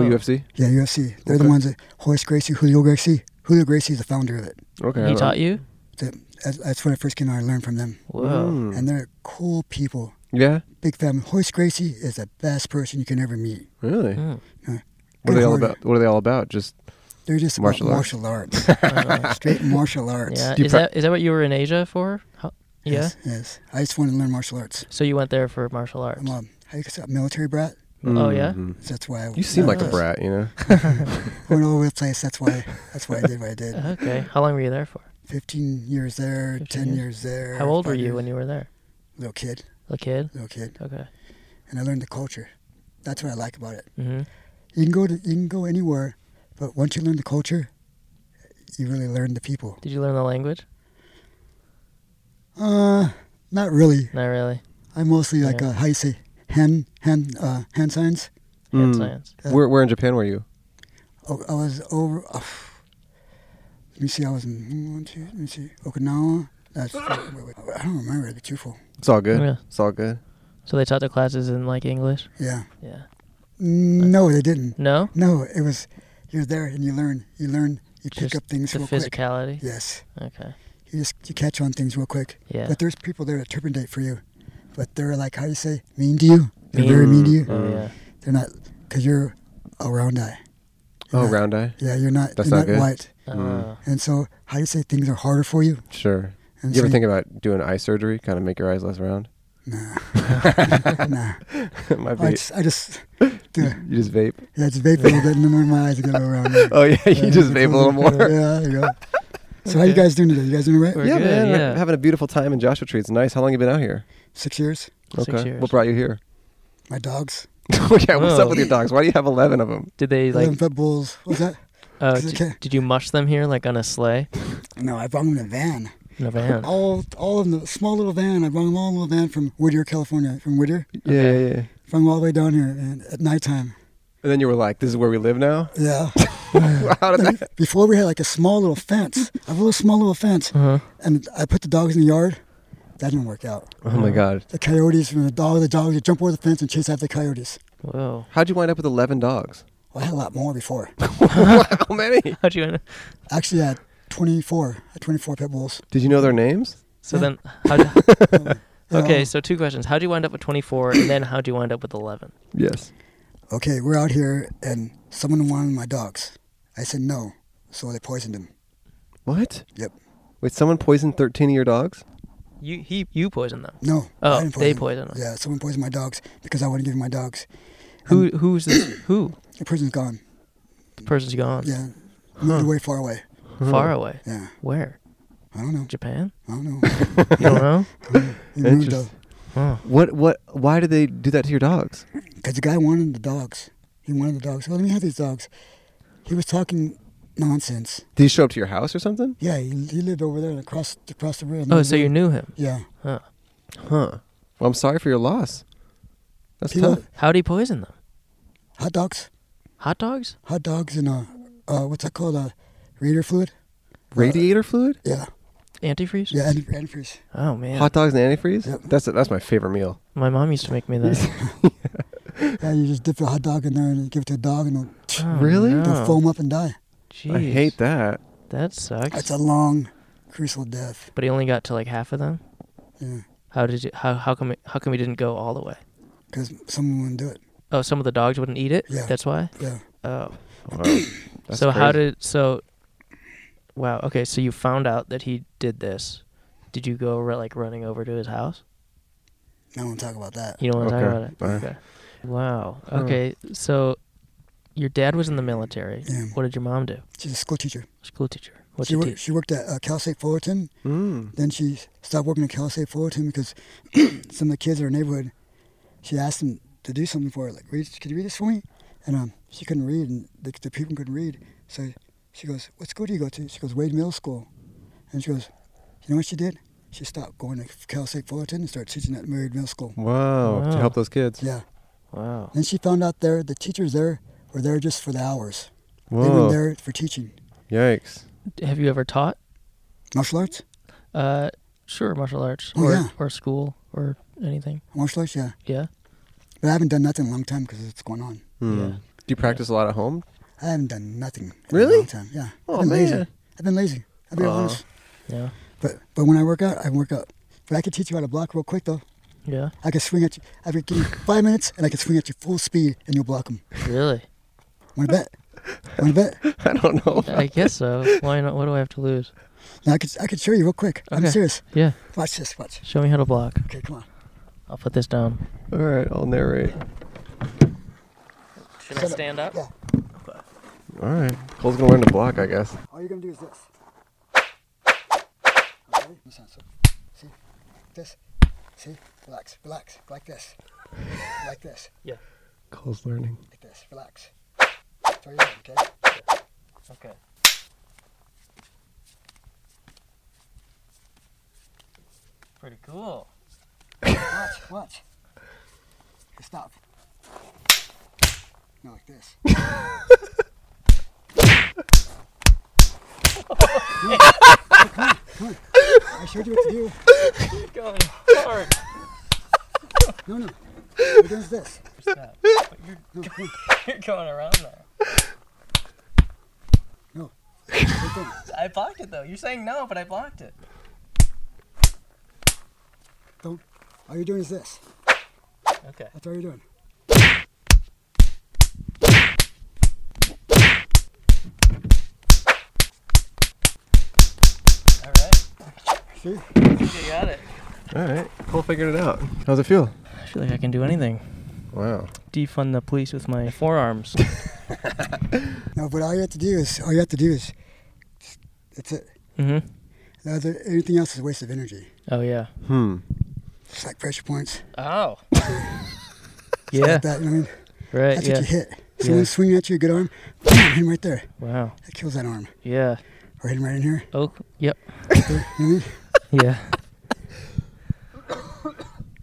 [SPEAKER 1] Oh.
[SPEAKER 2] UFC.
[SPEAKER 5] Yeah, UFC. They're the
[SPEAKER 2] Okay.
[SPEAKER 5] ones that Hoist Gracie, Julio Gracie. Julio Gracie is the founder of it.
[SPEAKER 2] Okay.
[SPEAKER 1] He taught you.
[SPEAKER 5] That, that's- that's when I first came out. I learned from them.
[SPEAKER 2] Hmm.
[SPEAKER 1] Whoa.
[SPEAKER 2] Mm.
[SPEAKER 5] And they're cool people.
[SPEAKER 2] Yeah.
[SPEAKER 5] Big family. Hoist Gracie is the best person you can ever meet.
[SPEAKER 2] Really.
[SPEAKER 1] Mm.
[SPEAKER 2] What are
[SPEAKER 5] Good
[SPEAKER 2] they all
[SPEAKER 5] hearted.
[SPEAKER 2] about? What are they all about? Just
[SPEAKER 5] They're just about
[SPEAKER 2] Martial
[SPEAKER 5] martial,
[SPEAKER 2] arts.
[SPEAKER 5] arts.
[SPEAKER 1] Uh,
[SPEAKER 5] Straight martial arts.
[SPEAKER 1] yeah.
[SPEAKER 2] Do you
[SPEAKER 1] Is
[SPEAKER 2] pra-
[SPEAKER 1] that is that what you were in Asia for? How, yeah.
[SPEAKER 5] Yes, yes. I just wanted to learn martial arts.
[SPEAKER 1] So you went there for martial arts.
[SPEAKER 5] I'm a, how you say, a military brat.
[SPEAKER 1] Oh yeah.
[SPEAKER 2] Mhm.
[SPEAKER 5] So that's why I
[SPEAKER 2] You seem
[SPEAKER 5] I
[SPEAKER 2] like a
[SPEAKER 1] Nice.
[SPEAKER 2] brat, you know.
[SPEAKER 5] went all over the place. That's why that's why I did what I did.
[SPEAKER 1] Okay. How long were you there for?
[SPEAKER 5] 15 years there,
[SPEAKER 1] 15
[SPEAKER 5] 10
[SPEAKER 1] years.
[SPEAKER 5] years there.
[SPEAKER 1] How old were
[SPEAKER 5] five
[SPEAKER 1] you
[SPEAKER 5] years-
[SPEAKER 1] when you were there?
[SPEAKER 5] Little kid,
[SPEAKER 1] A kid.
[SPEAKER 5] little kid.
[SPEAKER 1] Okay.
[SPEAKER 5] and I learned the culture. That's what I like about it.
[SPEAKER 1] hmm
[SPEAKER 5] You can go to you can go anywhere, but once you learn the culture, you really learn the people.
[SPEAKER 1] Did you learn the language?
[SPEAKER 5] Uh, not really.
[SPEAKER 1] Not really.
[SPEAKER 5] I mostly like
[SPEAKER 1] Yeah.
[SPEAKER 5] uh, how you say hand hand uh, hand signs.
[SPEAKER 1] Hand
[SPEAKER 2] Mm.
[SPEAKER 1] science.
[SPEAKER 5] Uh,
[SPEAKER 2] Where, where in Japan were you?
[SPEAKER 5] Oh, I was over. Uh, let me see. I was in one, two. Let me see. Okinawa. That's. wait, wait, I don't remember the truthful.
[SPEAKER 2] It's all good.
[SPEAKER 1] Yeah.
[SPEAKER 2] It's all good.
[SPEAKER 1] So they taught the classes in like English.
[SPEAKER 5] Yeah.
[SPEAKER 1] Yeah.
[SPEAKER 5] No, they didn't.
[SPEAKER 1] No.
[SPEAKER 5] No, it was. You're there and you learn. You learn. You pick
[SPEAKER 1] Just
[SPEAKER 5] up things
[SPEAKER 1] the
[SPEAKER 5] real quick.
[SPEAKER 1] physicality.
[SPEAKER 5] Yes.
[SPEAKER 1] Okay.
[SPEAKER 5] You just you catch on things real quick.
[SPEAKER 1] Yeah.
[SPEAKER 5] But there's people there that terminate for you, but they're like how you say mean to you. They're very mean to you.
[SPEAKER 1] Oh,
[SPEAKER 2] Hmm.
[SPEAKER 1] yeah.
[SPEAKER 5] They're not because you're a round eye. You're
[SPEAKER 2] Oh,
[SPEAKER 5] not-
[SPEAKER 2] round eye.
[SPEAKER 5] Yeah, you're not.
[SPEAKER 2] That's
[SPEAKER 5] you're
[SPEAKER 2] not good.
[SPEAKER 5] white,
[SPEAKER 1] Uh,
[SPEAKER 5] and so how you say things are harder for you.
[SPEAKER 2] Sure.
[SPEAKER 5] And
[SPEAKER 2] You ever
[SPEAKER 5] so
[SPEAKER 2] think about doing eye surgery? Kind of make your eyes less round.
[SPEAKER 5] Nah, nah.
[SPEAKER 2] Might be.
[SPEAKER 5] I just, I just, yeah,
[SPEAKER 2] you just vape.
[SPEAKER 5] it's vape a little bit, and then my eyes get a little round. there.
[SPEAKER 2] Oh yeah, you just vape a little more.
[SPEAKER 5] Yeah, there you go. So how you guys doing today? You guys doing all right?
[SPEAKER 1] We're
[SPEAKER 2] yeah,
[SPEAKER 1] good,
[SPEAKER 2] man.
[SPEAKER 1] yeah.
[SPEAKER 2] Having a beautiful time in Joshua Tree. It's nice. How long you been out here?
[SPEAKER 5] Six years.
[SPEAKER 1] Six years.
[SPEAKER 2] What brought you here?
[SPEAKER 5] My dogs.
[SPEAKER 2] oh yeah. What's
[SPEAKER 1] Whoa.
[SPEAKER 2] up with your dogs? Why do you have eleven of them?
[SPEAKER 1] Did they
[SPEAKER 5] Like,
[SPEAKER 1] like?
[SPEAKER 5] pit bulls. What's that?
[SPEAKER 1] Uh,
[SPEAKER 5] Cause I
[SPEAKER 1] did,
[SPEAKER 5] can't-
[SPEAKER 1] did you mush them here like on a sleigh
[SPEAKER 5] No, I brought them in a van.
[SPEAKER 1] in a van?
[SPEAKER 5] All, all in the small little van. I brought them all in a little van from Whittier, California. From Whittier,
[SPEAKER 2] Yeah, yeah, yeah.
[SPEAKER 5] from all the way down here, and at nighttime.
[SPEAKER 2] And then you were like, "This is where we live now."
[SPEAKER 5] Yeah.
[SPEAKER 2] How did that?
[SPEAKER 5] Before we had like a small little fence, a little small little fence,
[SPEAKER 1] Uh-huh.
[SPEAKER 5] and I put the dogs in the yard. That didn't work out.
[SPEAKER 2] Oh
[SPEAKER 1] Uh-huh.
[SPEAKER 2] my God.
[SPEAKER 5] The coyotes and the dog, the dog would jump over the fence and chase after the coyotes.
[SPEAKER 1] Whoa.
[SPEAKER 2] How'd you wind up with eleven dogs?
[SPEAKER 5] Well, I had a lot more before.
[SPEAKER 2] How many?
[SPEAKER 1] How'd you?
[SPEAKER 5] Actually, I had 24, I had 24 pit bulls.
[SPEAKER 2] Did you know their names?
[SPEAKER 1] So
[SPEAKER 5] Yeah. Um,
[SPEAKER 1] then, how?
[SPEAKER 5] You
[SPEAKER 1] Okay.
[SPEAKER 5] know,
[SPEAKER 1] So two questions. How do you wind up with 24, and then how do you wind up with 11?
[SPEAKER 2] Yes.
[SPEAKER 5] okay, we're out here and someone wanted my dogs. I said no, so they poisoned them.
[SPEAKER 2] What?
[SPEAKER 5] Yep.
[SPEAKER 2] Wait, someone poisoned thirteen of your dogs?
[SPEAKER 1] You he you poisoned them.
[SPEAKER 5] No.
[SPEAKER 1] Oh,
[SPEAKER 5] I didn't
[SPEAKER 1] they
[SPEAKER 5] poison
[SPEAKER 1] poisoned them.
[SPEAKER 5] Yeah, someone poisoned my dogs because I wouldn't give my dogs.
[SPEAKER 1] Who who's this? Who?
[SPEAKER 5] The person's gone.
[SPEAKER 1] The person's gone.
[SPEAKER 5] Yeah. Moved away, far away.
[SPEAKER 2] Uh-huh.
[SPEAKER 1] Far away.
[SPEAKER 5] Yeah.
[SPEAKER 1] Where?
[SPEAKER 5] I don't know.
[SPEAKER 1] Japan?
[SPEAKER 5] I don't know.
[SPEAKER 1] You don't know?
[SPEAKER 5] He moved
[SPEAKER 2] Interest-
[SPEAKER 1] Oh.
[SPEAKER 2] What? What? Why did they do that to your dogs?
[SPEAKER 5] Because the guy wanted the dogs. He wanted the dogs. Well, let me have these dogs. He was talking nonsense.
[SPEAKER 2] Did he show up to your house or something?
[SPEAKER 5] Yeah, he, he lived over there and across across the river.
[SPEAKER 1] Oh, so you knew him.
[SPEAKER 5] Yeah.
[SPEAKER 1] Huh.
[SPEAKER 2] Huh. Well, I'm sorry for your loss. That's
[SPEAKER 5] He
[SPEAKER 2] tough.
[SPEAKER 5] loved
[SPEAKER 1] How'd he poison them?
[SPEAKER 5] hot dogs,
[SPEAKER 1] Hot dogs?
[SPEAKER 5] hot dogs, and uh, uh what's that called? Uh, radiator fluid.
[SPEAKER 2] Radiator fluid,
[SPEAKER 5] Yeah.
[SPEAKER 1] Antifreeze?
[SPEAKER 5] Yeah, and antifreeze.
[SPEAKER 1] Oh man.
[SPEAKER 2] hot dogs, and antifreeze.
[SPEAKER 5] Yep.
[SPEAKER 2] That's that's my favorite meal.
[SPEAKER 1] My mom used to make me that.
[SPEAKER 5] Yeah, you just dip the hot dog in there and give it to a dog, and it'll,
[SPEAKER 1] Oh,
[SPEAKER 2] Really? The
[SPEAKER 5] they'll
[SPEAKER 1] no.
[SPEAKER 5] foam up and die.
[SPEAKER 1] Jeez.
[SPEAKER 2] I hate that.
[SPEAKER 1] That sucks.
[SPEAKER 5] It's a long, crucial death.
[SPEAKER 1] but he only got to like half of them.
[SPEAKER 5] Yeah,
[SPEAKER 1] How did you? How how come? It, how come he didn't go all the way?
[SPEAKER 5] because someone wouldn't do it.
[SPEAKER 1] Oh, some of the dogs wouldn't eat it.
[SPEAKER 5] Yeah.
[SPEAKER 1] That's why.
[SPEAKER 5] Yeah.
[SPEAKER 1] Oh.
[SPEAKER 2] Wow. That's
[SPEAKER 1] so how
[SPEAKER 2] crazy.
[SPEAKER 1] did so? Wow. Okay. So you found out that he did this. Did you go ru- like running over to his house?
[SPEAKER 5] I don't want to talk about that.
[SPEAKER 1] You don't want to
[SPEAKER 2] Okay.
[SPEAKER 1] talk about it. Okay. Wow. Okay. So your dad was in the military.
[SPEAKER 5] Yeah.
[SPEAKER 1] What did your mom do?
[SPEAKER 5] She's a school teacher.
[SPEAKER 1] School teacher. What
[SPEAKER 5] she,
[SPEAKER 1] she
[SPEAKER 5] wor-
[SPEAKER 1] teach?
[SPEAKER 5] she worked at uh, Cal State Fullerton.
[SPEAKER 2] Mm.
[SPEAKER 5] Then she stopped working at Cal State Fullerton because some of the kids in her neighborhood, she asked them to do something for her, like, read, could you read this for me? And um, she couldn't read, and the, the people couldn't read. So she goes, what school do you go to? She goes, Wade Middle School. And she goes, you know what she did? She stopped going to Cal State Fullerton and started teaching at Married Middle School.
[SPEAKER 2] Wow. To
[SPEAKER 1] Wow.
[SPEAKER 2] help those kids.
[SPEAKER 5] Yeah.
[SPEAKER 1] Wow.
[SPEAKER 5] Then she found out there, the teachers there were there just for the hours. They
[SPEAKER 2] Whoa.
[SPEAKER 5] were there for teaching.
[SPEAKER 2] Yikes.
[SPEAKER 1] Have you ever taught?
[SPEAKER 5] Martial arts?
[SPEAKER 1] Uh, sure, martial arts
[SPEAKER 5] Oh,
[SPEAKER 1] or
[SPEAKER 5] yeah.
[SPEAKER 1] or school or anything.
[SPEAKER 5] Martial arts, yeah.
[SPEAKER 1] Yeah.
[SPEAKER 5] But I haven't done nothing in a long time because it's going on.
[SPEAKER 2] Hmm.
[SPEAKER 1] Yeah.
[SPEAKER 2] Do you practice a lot at home?
[SPEAKER 5] I haven't done nothing in
[SPEAKER 2] Really?
[SPEAKER 5] a long time. Yeah.
[SPEAKER 2] Oh,
[SPEAKER 5] I've been
[SPEAKER 2] man. Uh-huh.
[SPEAKER 5] lazy. I've been lazy. I'll be
[SPEAKER 2] Aw.
[SPEAKER 5] honest.
[SPEAKER 1] Yeah.
[SPEAKER 5] But but when I work out, I work out. But I can teach you how to block real quick though.
[SPEAKER 1] Yeah.
[SPEAKER 5] I can swing at you. I can give you five minutes, and I can swing at you full speed, and you'll block them.
[SPEAKER 1] Really?
[SPEAKER 5] Want to bet? Want to bet?
[SPEAKER 2] I don't know.
[SPEAKER 1] I guess so. Why not? What do I have to lose?
[SPEAKER 5] Now I could I could show you real quick. I'm
[SPEAKER 1] Okay.
[SPEAKER 5] serious.
[SPEAKER 1] Yeah.
[SPEAKER 5] Watch this. Watch.
[SPEAKER 1] Show me how to block.
[SPEAKER 5] Okay, come on.
[SPEAKER 1] I'll put this down.
[SPEAKER 2] All right, I'll narrate.
[SPEAKER 1] Should I stand up?
[SPEAKER 5] Yeah.
[SPEAKER 2] All right. Cole's gonna learn to block, I guess.
[SPEAKER 5] All you're gonna do is this. Okay. This one, so- See? This. See? Relax. Relax. Like this. like this,
[SPEAKER 2] Cole's learning.
[SPEAKER 5] like this. Relax. Throw your head, okay?
[SPEAKER 1] Okay. Pretty cool.
[SPEAKER 5] Watch, watch. Okay, Stop. No, like this. Come on, come on, come on. I showed you what to do.
[SPEAKER 1] Keep going hard.
[SPEAKER 5] No, no. What does this?
[SPEAKER 1] Stop. You're,
[SPEAKER 5] No, come on.
[SPEAKER 1] you're going around there.
[SPEAKER 5] Right there.
[SPEAKER 1] I blocked it though. You're saying no, but I blocked it.
[SPEAKER 5] Don't. All you're doing is this.
[SPEAKER 1] Okay.
[SPEAKER 5] That's all you're doing.
[SPEAKER 1] All right.
[SPEAKER 5] See?
[SPEAKER 1] You got it.
[SPEAKER 2] All right. Cole figured it out. How's it feel?
[SPEAKER 1] I feel like I can do anything.
[SPEAKER 2] Wow.
[SPEAKER 1] Defund the police with my forearms.
[SPEAKER 5] No, but all you have to do is all you have to do is. That's it.
[SPEAKER 1] mm-hmm.
[SPEAKER 5] The other, anything else is a waste of energy.
[SPEAKER 1] Oh yeah.
[SPEAKER 2] Hmm.
[SPEAKER 5] It's like pressure points.
[SPEAKER 1] Oh. yeah.
[SPEAKER 5] Like that. You know what I mean?
[SPEAKER 1] Right.
[SPEAKER 5] That's
[SPEAKER 1] yeah.
[SPEAKER 5] what you hit. Someone
[SPEAKER 1] Yeah.
[SPEAKER 5] swinging at you, good arm. Hit him right there.
[SPEAKER 1] Wow.
[SPEAKER 5] That kills that arm.
[SPEAKER 1] Yeah.
[SPEAKER 5] Or hit him right in here.
[SPEAKER 1] Oh. Yep.
[SPEAKER 5] Right there. You know what I mean?
[SPEAKER 1] Yeah.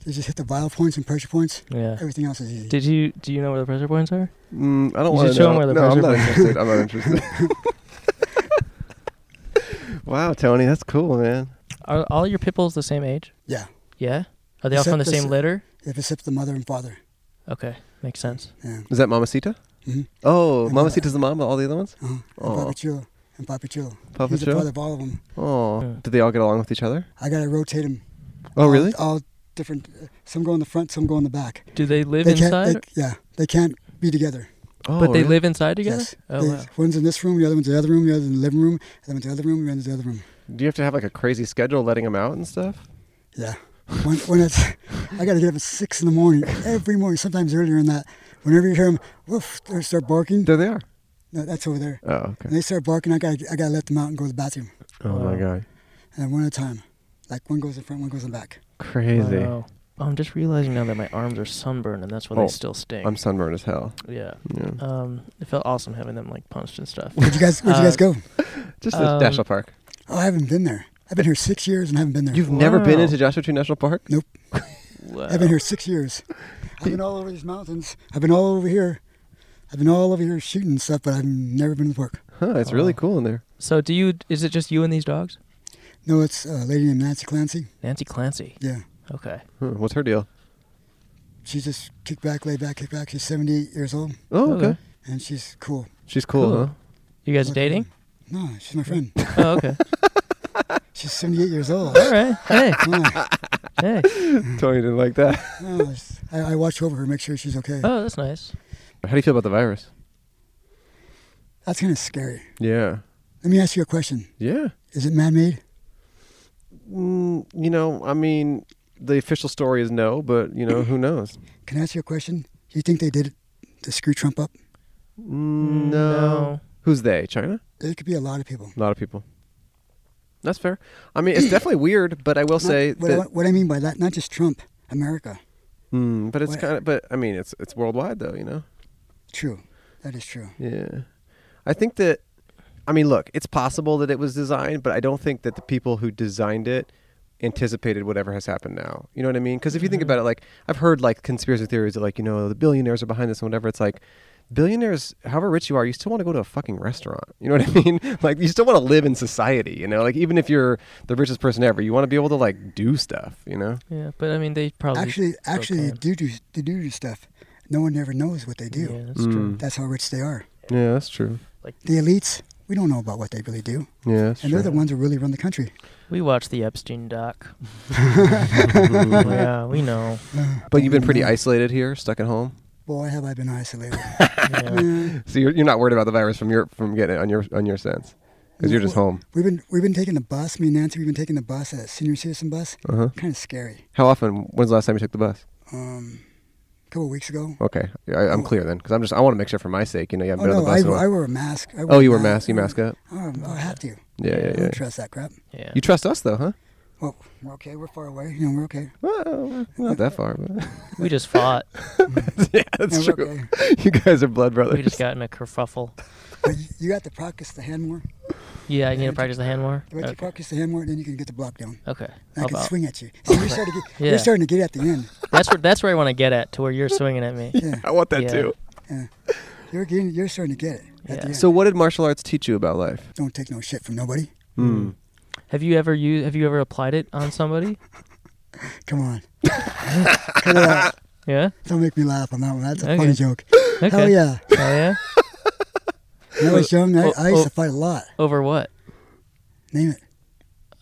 [SPEAKER 5] You just hit the vital points and pressure points.
[SPEAKER 1] Yeah.
[SPEAKER 5] Everything else is easy.
[SPEAKER 1] Did you do you know where the pressure points are?
[SPEAKER 2] Mm, I don't
[SPEAKER 1] You
[SPEAKER 2] want to
[SPEAKER 1] should show
[SPEAKER 2] know.
[SPEAKER 1] 'em where the
[SPEAKER 2] no, I'm
[SPEAKER 1] pressure
[SPEAKER 2] not
[SPEAKER 1] points
[SPEAKER 2] interested. I'm not interested. wow, Tony, that's cool, man.
[SPEAKER 1] Are all your pitbulls the same age?
[SPEAKER 5] Yeah.
[SPEAKER 1] Yeah. Are they all from the
[SPEAKER 5] Except
[SPEAKER 1] same
[SPEAKER 5] this-
[SPEAKER 1] litter?
[SPEAKER 5] If it's up to the mother and father.
[SPEAKER 1] Okay, makes sense.
[SPEAKER 5] Yeah.
[SPEAKER 2] Is that Mamacita?
[SPEAKER 5] Mhm.
[SPEAKER 2] Oh,
[SPEAKER 5] And Mama-
[SPEAKER 2] Mamacita's the mom of all the other ones.
[SPEAKER 5] Uh-huh. And
[SPEAKER 2] Aw.
[SPEAKER 5] Papa Chulo. And Papa Chulo.
[SPEAKER 2] Oh. Papa
[SPEAKER 5] He's the
[SPEAKER 2] Chulo?
[SPEAKER 5] father of all of them.
[SPEAKER 2] Oh,
[SPEAKER 1] Yeah.
[SPEAKER 2] did they all get along with each other?
[SPEAKER 5] I got to rotate them.
[SPEAKER 2] Oh, really?
[SPEAKER 5] All different. uh, Some go in the front, some go in the back.
[SPEAKER 1] Do they live
[SPEAKER 5] they can't.
[SPEAKER 1] inside?
[SPEAKER 5] They, yeah. They can't be together.
[SPEAKER 2] Oh,
[SPEAKER 1] but they
[SPEAKER 2] really?
[SPEAKER 1] live inside together.
[SPEAKER 5] Yes.
[SPEAKER 1] Oh
[SPEAKER 5] They-
[SPEAKER 1] wow.
[SPEAKER 5] One's in this room, the other one's in the other room, the other in the living room, the other one's in the other room, the other's in the other room.
[SPEAKER 2] Do you have to have like a crazy schedule, letting them out and stuff?
[SPEAKER 5] Yeah. When, when it's, I got to get up at six in the morning every morning, sometimes earlier than that. Whenever you hear them, woof, they start barking.
[SPEAKER 2] There they are.
[SPEAKER 5] No, that's over there.
[SPEAKER 2] Oh,
[SPEAKER 5] When
[SPEAKER 2] okay.
[SPEAKER 5] they start barking, I got to I got to let them out and go to the bathroom,
[SPEAKER 2] Oh my
[SPEAKER 1] Wow.
[SPEAKER 2] god,
[SPEAKER 5] and one at a time. Like one goes in front, one goes in back.
[SPEAKER 2] crazy.
[SPEAKER 1] Wow. Oh, I'm just realizing now that my arms are sunburned, and that's why
[SPEAKER 2] Oh,
[SPEAKER 1] they still sting.
[SPEAKER 2] I'm sunburned as hell.
[SPEAKER 1] yeah.
[SPEAKER 2] Yeah.
[SPEAKER 1] Um, it felt awesome having them like punched and stuff.
[SPEAKER 5] Where'd you guys Where'd you guys go?
[SPEAKER 2] Just
[SPEAKER 1] um,
[SPEAKER 2] a national park.
[SPEAKER 5] Oh, I haven't been there. I've been here six years and haven't been there.
[SPEAKER 2] You've never been
[SPEAKER 1] Wow.
[SPEAKER 2] into Joshua Tree National Park?
[SPEAKER 1] wow.
[SPEAKER 5] I've been here six years. I've been all over these mountains. I've been all over here. I've been all over here shooting and stuff, but I've never been to the park.
[SPEAKER 2] Huh? It's really
[SPEAKER 1] Wow.
[SPEAKER 2] cool in there.
[SPEAKER 1] So do you? Is it just you and these dogs?
[SPEAKER 5] No, it's a lady named Nancy Clancy.
[SPEAKER 1] Nancy Clancy.
[SPEAKER 5] Yeah.
[SPEAKER 1] Okay.
[SPEAKER 2] Huh, what's her deal?
[SPEAKER 5] She's just kick back, lay back, kick back. She's 78 years old,
[SPEAKER 2] Oh, okay.
[SPEAKER 5] and she's cool.
[SPEAKER 2] She's cool,
[SPEAKER 1] Cool.
[SPEAKER 2] huh?
[SPEAKER 1] You guys
[SPEAKER 5] Like,
[SPEAKER 1] dating?
[SPEAKER 5] No, she's my friend.
[SPEAKER 1] oh, okay.
[SPEAKER 5] She's 78 years old.
[SPEAKER 1] All right. Hey.
[SPEAKER 5] Yeah,
[SPEAKER 1] Hey.
[SPEAKER 2] Tony didn't like that.
[SPEAKER 5] no, I, I watch over her, make sure she's okay.
[SPEAKER 1] Oh, that's nice.
[SPEAKER 2] How do you feel about the virus?
[SPEAKER 5] That's kind of scary.
[SPEAKER 2] Yeah.
[SPEAKER 5] Let me ask you a question.
[SPEAKER 2] Yeah.
[SPEAKER 5] Is it man-made?
[SPEAKER 2] Mm, you know, I mean, the official story is no, but you know, who knows?
[SPEAKER 5] Can I ask you a question? Do you think they did it to screw Trump up?
[SPEAKER 2] Mm, no. Who's they? China?
[SPEAKER 5] It could be a lot of people.
[SPEAKER 2] A lot of people. That's fair. I mean, it's definitely weird, but I will say
[SPEAKER 5] Not- what,
[SPEAKER 2] that.
[SPEAKER 5] I, what I mean by that, not just Trump, America.
[SPEAKER 2] Mm, but it's
[SPEAKER 5] what-
[SPEAKER 2] kind of. But I mean, it's it's worldwide though. You know.
[SPEAKER 5] True. That is true.
[SPEAKER 2] Yeah. I think that I mean, look, it's possible that it was designed, but I don't think that the people who designed it anticipated whatever has happened now. You know what I mean? Cuz if you think about it, like I've heard like conspiracy theories that like, you know, the billionaires are behind this and whatever. It's like billionaires, however rich you are, you still want to go to a fucking restaurant. You know what I mean? like you still want to live in society, you know? Like even if you're the richest person ever, you want to be able to like do stuff, you know?
[SPEAKER 1] Yeah, but I mean, they probably
[SPEAKER 5] Actually,
[SPEAKER 1] still
[SPEAKER 5] actually, they
[SPEAKER 1] can.
[SPEAKER 5] do do they do do stuff. No one ever knows what they
[SPEAKER 1] Yeah,
[SPEAKER 5] do.
[SPEAKER 1] that's
[SPEAKER 2] Mm.
[SPEAKER 1] true.
[SPEAKER 5] That's how rich they are.
[SPEAKER 2] Yeah, that's true.
[SPEAKER 5] The elites, we don't know about what they really do,
[SPEAKER 2] Yeah, that's
[SPEAKER 5] and they're the ones who really run the country.
[SPEAKER 1] We watched the Epstein doc. yeah, we know.
[SPEAKER 2] But you've been pretty isolated here, stuck at home.
[SPEAKER 5] Boy, have I been isolated.
[SPEAKER 1] Yeah.
[SPEAKER 5] Yeah.
[SPEAKER 2] So you're, you're not worried about the virus from your from getting it on your on your sense because you're just home.
[SPEAKER 5] We've been we've been taking the bus. Me and Nancy, we've been taking the bus, that senior citizen bus.
[SPEAKER 2] Uh-huh.
[SPEAKER 5] Kind of scary.
[SPEAKER 2] How often? When's the last time you took the bus?
[SPEAKER 5] Um, a couple of weeks ago.
[SPEAKER 2] Okay, I, I'm clear then because I'm just I want to make sure for my sake. You know, you
[SPEAKER 5] Oh
[SPEAKER 2] haven't been on
[SPEAKER 5] no,
[SPEAKER 2] the
[SPEAKER 5] I,
[SPEAKER 2] bus. in a
[SPEAKER 5] I
[SPEAKER 2] while.
[SPEAKER 5] wore a mask. I
[SPEAKER 2] oh, you were
[SPEAKER 5] a
[SPEAKER 2] mask. You mask up.
[SPEAKER 5] Oh, I have to.
[SPEAKER 2] Yeah, yeah,
[SPEAKER 5] I
[SPEAKER 2] yeah.
[SPEAKER 5] don't trust that crap.
[SPEAKER 1] yeah.
[SPEAKER 2] You trust us though, huh?
[SPEAKER 5] Well, we're okay. We're far away. You know, we're okay.
[SPEAKER 2] Well, not that far, but
[SPEAKER 1] We just fought.
[SPEAKER 2] yeah, that's
[SPEAKER 5] Yeah, we're
[SPEAKER 2] true. You guys are blood brothers.
[SPEAKER 1] we just got in a kerfuffle.
[SPEAKER 5] But you- you got to practice the hand more.
[SPEAKER 1] Yeah, I need to practice the hand more.
[SPEAKER 5] Once you
[SPEAKER 1] Okay.
[SPEAKER 5] practice the hand more, then you can get the block down.
[SPEAKER 1] okay.
[SPEAKER 5] And
[SPEAKER 1] How
[SPEAKER 5] I can
[SPEAKER 1] about?
[SPEAKER 5] swing at you. So you're, starting to get,
[SPEAKER 1] Yeah.
[SPEAKER 5] you're starting to get at the end.
[SPEAKER 1] That's where that's where I want to get at, to where you're swinging at me.
[SPEAKER 5] Yeah,
[SPEAKER 2] I want that
[SPEAKER 1] Yeah.
[SPEAKER 2] too.
[SPEAKER 5] you're getting, you're starting to get it. At
[SPEAKER 1] Yeah.
[SPEAKER 5] the end.
[SPEAKER 2] So, what did martial arts teach you about life?
[SPEAKER 5] don't take no shit from nobody.
[SPEAKER 2] Hmm.
[SPEAKER 1] Have you ever used? Have you ever applied it on somebody?
[SPEAKER 5] Come on, cut it out.
[SPEAKER 1] Yeah.
[SPEAKER 5] Don't make me laugh on that one. That's a
[SPEAKER 1] Okay.
[SPEAKER 5] funny joke.
[SPEAKER 1] Okay.
[SPEAKER 5] Hell yeah!
[SPEAKER 1] Oh, yeah?
[SPEAKER 5] When I was young, I, I used to fight a lot.
[SPEAKER 1] Over what?
[SPEAKER 5] Name it.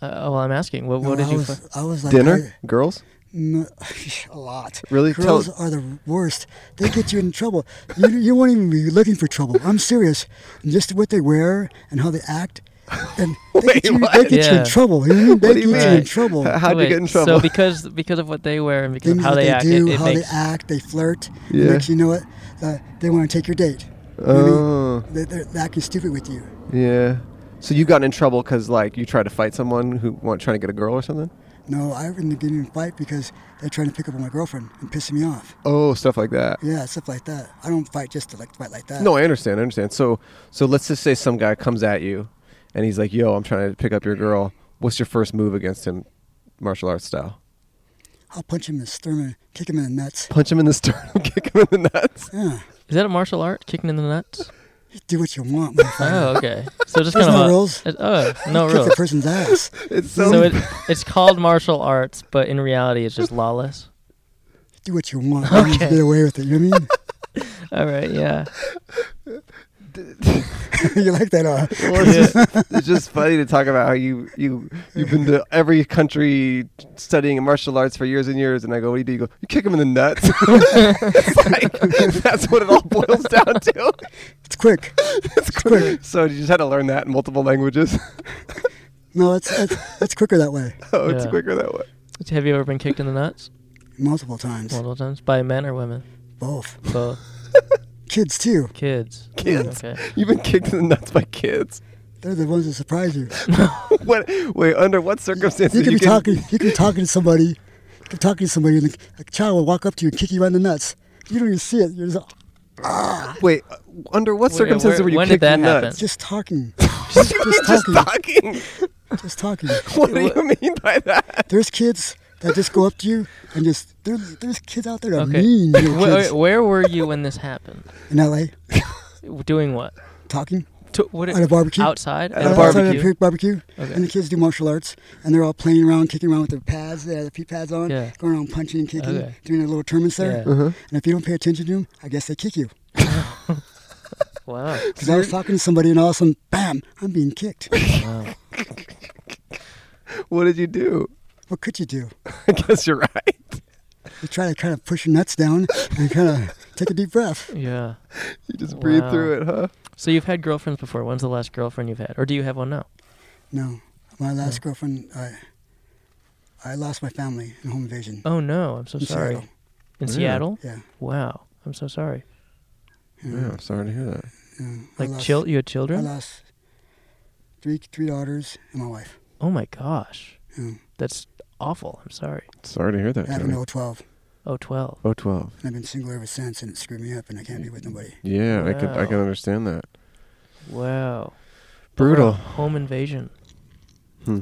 [SPEAKER 1] Uh, oh, well, I'm asking. What? What
[SPEAKER 5] No,
[SPEAKER 1] did
[SPEAKER 5] I
[SPEAKER 1] you?
[SPEAKER 5] Was,
[SPEAKER 1] fi-
[SPEAKER 5] I was like
[SPEAKER 2] Dinner, girls.
[SPEAKER 5] No, a lot.
[SPEAKER 2] Really? Tell-
[SPEAKER 5] Girls are the worst. They get you in trouble. You, you won't even be looking for trouble. I'm serious. And just what they wear and how they act, and they
[SPEAKER 2] Wait,
[SPEAKER 5] get, you, they
[SPEAKER 2] what?
[SPEAKER 5] get you
[SPEAKER 1] Yeah.
[SPEAKER 5] in trouble. You know what I mean? They
[SPEAKER 2] do
[SPEAKER 5] get
[SPEAKER 2] you
[SPEAKER 5] you
[SPEAKER 1] mean?
[SPEAKER 5] in trouble.
[SPEAKER 2] H- How'd
[SPEAKER 1] Wait,
[SPEAKER 2] you get in trouble?
[SPEAKER 1] So because because of what they wear and because
[SPEAKER 5] Things
[SPEAKER 1] of how
[SPEAKER 5] that
[SPEAKER 1] they,
[SPEAKER 5] they
[SPEAKER 1] act,
[SPEAKER 5] do,
[SPEAKER 1] it, it
[SPEAKER 5] how
[SPEAKER 1] makes.
[SPEAKER 5] they act, they flirt. It
[SPEAKER 2] Yeah.
[SPEAKER 5] Makes you know it. Uh, they want to take your date. You know what I mean?
[SPEAKER 2] oh,
[SPEAKER 5] They- they're, they're acting stupid with you.
[SPEAKER 2] yeah. So you got in trouble because like you tried to fight someone who want trying to get a girl or something.
[SPEAKER 5] No, I didn't get in a fight because they're trying to pick up on my girlfriend and pissing me off.
[SPEAKER 2] Oh, stuff like that.
[SPEAKER 5] Yeah, stuff like that. I don't fight just to like fight like that.
[SPEAKER 2] No, I understand. I understand. So, so let's just say some guy comes at you, and he's like, "Yo, I'm trying to pick up your girl." What's your first move against him, martial arts style?
[SPEAKER 5] I'll punch him in the sternum, kick him in the nuts.
[SPEAKER 2] Punch him in the sternum, kick him in the nuts.
[SPEAKER 5] Yeah,
[SPEAKER 1] Is that a martial art? Kicking in the nuts?
[SPEAKER 5] do what you want. motherfucker.
[SPEAKER 1] Oh, okay. So just
[SPEAKER 5] Uh, There's
[SPEAKER 1] kind of
[SPEAKER 5] no rules.
[SPEAKER 1] oh, no
[SPEAKER 5] Kick
[SPEAKER 1] rules.
[SPEAKER 5] the person's ass.
[SPEAKER 2] It's so,
[SPEAKER 1] So it it's called martial arts, but in reality, it's just lawless.
[SPEAKER 5] Do what you want. You just
[SPEAKER 1] Okay.
[SPEAKER 5] Get away with it. You know what
[SPEAKER 1] All right. Yeah.
[SPEAKER 5] I mean? you like that? Uh,
[SPEAKER 2] Well, it's, just, it's just funny to talk about how you you you've been to every country studying martial arts for years and years, and I go, "What do you do?" You go, "You kick him in the nuts." it's like that's what it all boils down to.
[SPEAKER 5] it's quick. It's quick.
[SPEAKER 2] So you just had to learn that in multiple languages.
[SPEAKER 5] No, it's, it's it's quicker that way.
[SPEAKER 2] oh, it's
[SPEAKER 1] Yeah.
[SPEAKER 2] quicker that way.
[SPEAKER 1] Have you ever been kicked in the nuts
[SPEAKER 5] Multiple times.
[SPEAKER 1] multiple times by men or women?
[SPEAKER 5] Both
[SPEAKER 1] Both
[SPEAKER 5] kids too.
[SPEAKER 1] kids.
[SPEAKER 2] Kids.
[SPEAKER 1] Okay.
[SPEAKER 2] You've been kicked in the nuts by kids.
[SPEAKER 5] They're the ones that surprise you.
[SPEAKER 2] What? Wait, under what circumstances
[SPEAKER 5] You could
[SPEAKER 2] you
[SPEAKER 5] be
[SPEAKER 2] can-
[SPEAKER 5] talking. You could be talking to somebody. You could be talking to somebody, and a child will walk up to you and kick you right in the nuts. You don't even see it. You're just,
[SPEAKER 2] Wait, uh, under what
[SPEAKER 1] Wait,
[SPEAKER 2] circumstances
[SPEAKER 1] where-
[SPEAKER 2] were you
[SPEAKER 1] when did
[SPEAKER 2] kicked in the
[SPEAKER 1] that
[SPEAKER 2] nuts?
[SPEAKER 5] just talking.
[SPEAKER 2] Just,
[SPEAKER 5] just
[SPEAKER 2] talking.
[SPEAKER 5] Just talking.
[SPEAKER 2] What do you mean by that?
[SPEAKER 5] There's kids that just go up to you and just. There, there's kids out there that
[SPEAKER 1] Okay.
[SPEAKER 5] are mean. Little
[SPEAKER 1] Where,
[SPEAKER 5] kids
[SPEAKER 1] where were you when this happened?
[SPEAKER 5] in L.A.
[SPEAKER 1] Doing what?
[SPEAKER 5] talking.
[SPEAKER 1] To, what
[SPEAKER 5] At a barbecue?
[SPEAKER 1] Outside?
[SPEAKER 2] At a
[SPEAKER 5] Uh, outside of
[SPEAKER 2] barbecue.
[SPEAKER 5] the pig barbecue.
[SPEAKER 1] Okay.
[SPEAKER 5] And the kids do martial arts, and they're all playing around, kicking around with their pads. They have the pee pads on,
[SPEAKER 1] Yeah.
[SPEAKER 5] going around punching and kicking,
[SPEAKER 1] Okay.
[SPEAKER 5] doing their little tournaments there.
[SPEAKER 1] Yeah.
[SPEAKER 5] And if you don't pay attention to them, I guess they kick you.
[SPEAKER 1] Wow.
[SPEAKER 5] Because I was talking to somebody, and all of a sudden, bam, I'm being kicked.
[SPEAKER 2] What did you do?
[SPEAKER 5] what could you do?
[SPEAKER 2] I guess you're right.
[SPEAKER 5] You try to kind of push your nuts down and kind of take a deep breath.
[SPEAKER 1] Yeah.
[SPEAKER 2] You just breathe
[SPEAKER 1] Wow.
[SPEAKER 2] through it, huh?
[SPEAKER 1] So you've had girlfriends before. When's the last girlfriend you've had, or do you have one now?
[SPEAKER 5] No, my last girlfriend, I, I lost my family in home invasion.
[SPEAKER 1] Oh no, I'm so
[SPEAKER 5] In
[SPEAKER 1] sorry.
[SPEAKER 5] Seattle.
[SPEAKER 1] In Seattle?
[SPEAKER 5] Yeah.
[SPEAKER 1] Wow, I'm so sorry.
[SPEAKER 2] Yeah, I'm sorry to hear that.
[SPEAKER 5] yeah. I
[SPEAKER 1] Like,
[SPEAKER 5] lost-
[SPEAKER 1] chil- you had
[SPEAKER 5] I
[SPEAKER 1] children?
[SPEAKER 5] lost three three daughters and my wife.
[SPEAKER 1] Oh my gosh,
[SPEAKER 5] Yeah.
[SPEAKER 1] that's awful. I'm sorry.
[SPEAKER 2] Sorry to hear that.
[SPEAKER 5] I have an 012,
[SPEAKER 1] Oh, 12.
[SPEAKER 2] Oh, 12.
[SPEAKER 5] and I've been single ever since, and it screwed me up, and I can't be with nobody.
[SPEAKER 2] Yeah, I could I
[SPEAKER 1] Wow.
[SPEAKER 2] can understand that.
[SPEAKER 1] Wow.
[SPEAKER 2] Brutal.
[SPEAKER 1] Wow, Home invasion.
[SPEAKER 2] Hmm.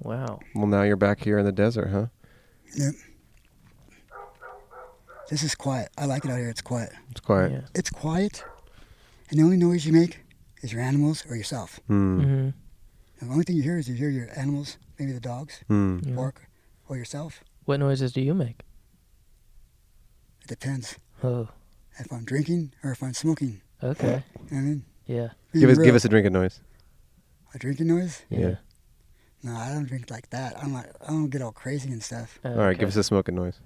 [SPEAKER 1] Wow.
[SPEAKER 2] Well, now you're back here in the desert, huh?
[SPEAKER 5] Yep. This is quiet. I like it out here. It's quiet.
[SPEAKER 2] It's quiet.
[SPEAKER 1] Yeah.
[SPEAKER 5] It's quiet, and the only noise you make is your animals or yourself.
[SPEAKER 2] Hmm.
[SPEAKER 1] hmm
[SPEAKER 5] The only thing you hear is you hear your animals, maybe the dogs,
[SPEAKER 2] Hmm.
[SPEAKER 1] Yeah.
[SPEAKER 5] bark, or yourself.
[SPEAKER 1] What noises do you make?
[SPEAKER 5] It depends
[SPEAKER 1] Oh,
[SPEAKER 5] if I'm drinking or if I'm smoking.
[SPEAKER 1] okay.
[SPEAKER 5] You know what I mean,
[SPEAKER 1] Yeah.
[SPEAKER 5] Being
[SPEAKER 2] Give us
[SPEAKER 5] real.
[SPEAKER 2] give us a drinking noise.
[SPEAKER 5] a drinking noise.
[SPEAKER 2] Yeah.
[SPEAKER 5] No, I don't drink like that. I'm like I don't get all crazy and stuff.
[SPEAKER 1] Uh,
[SPEAKER 2] All right, give
[SPEAKER 1] okay.
[SPEAKER 2] us a smoking noise.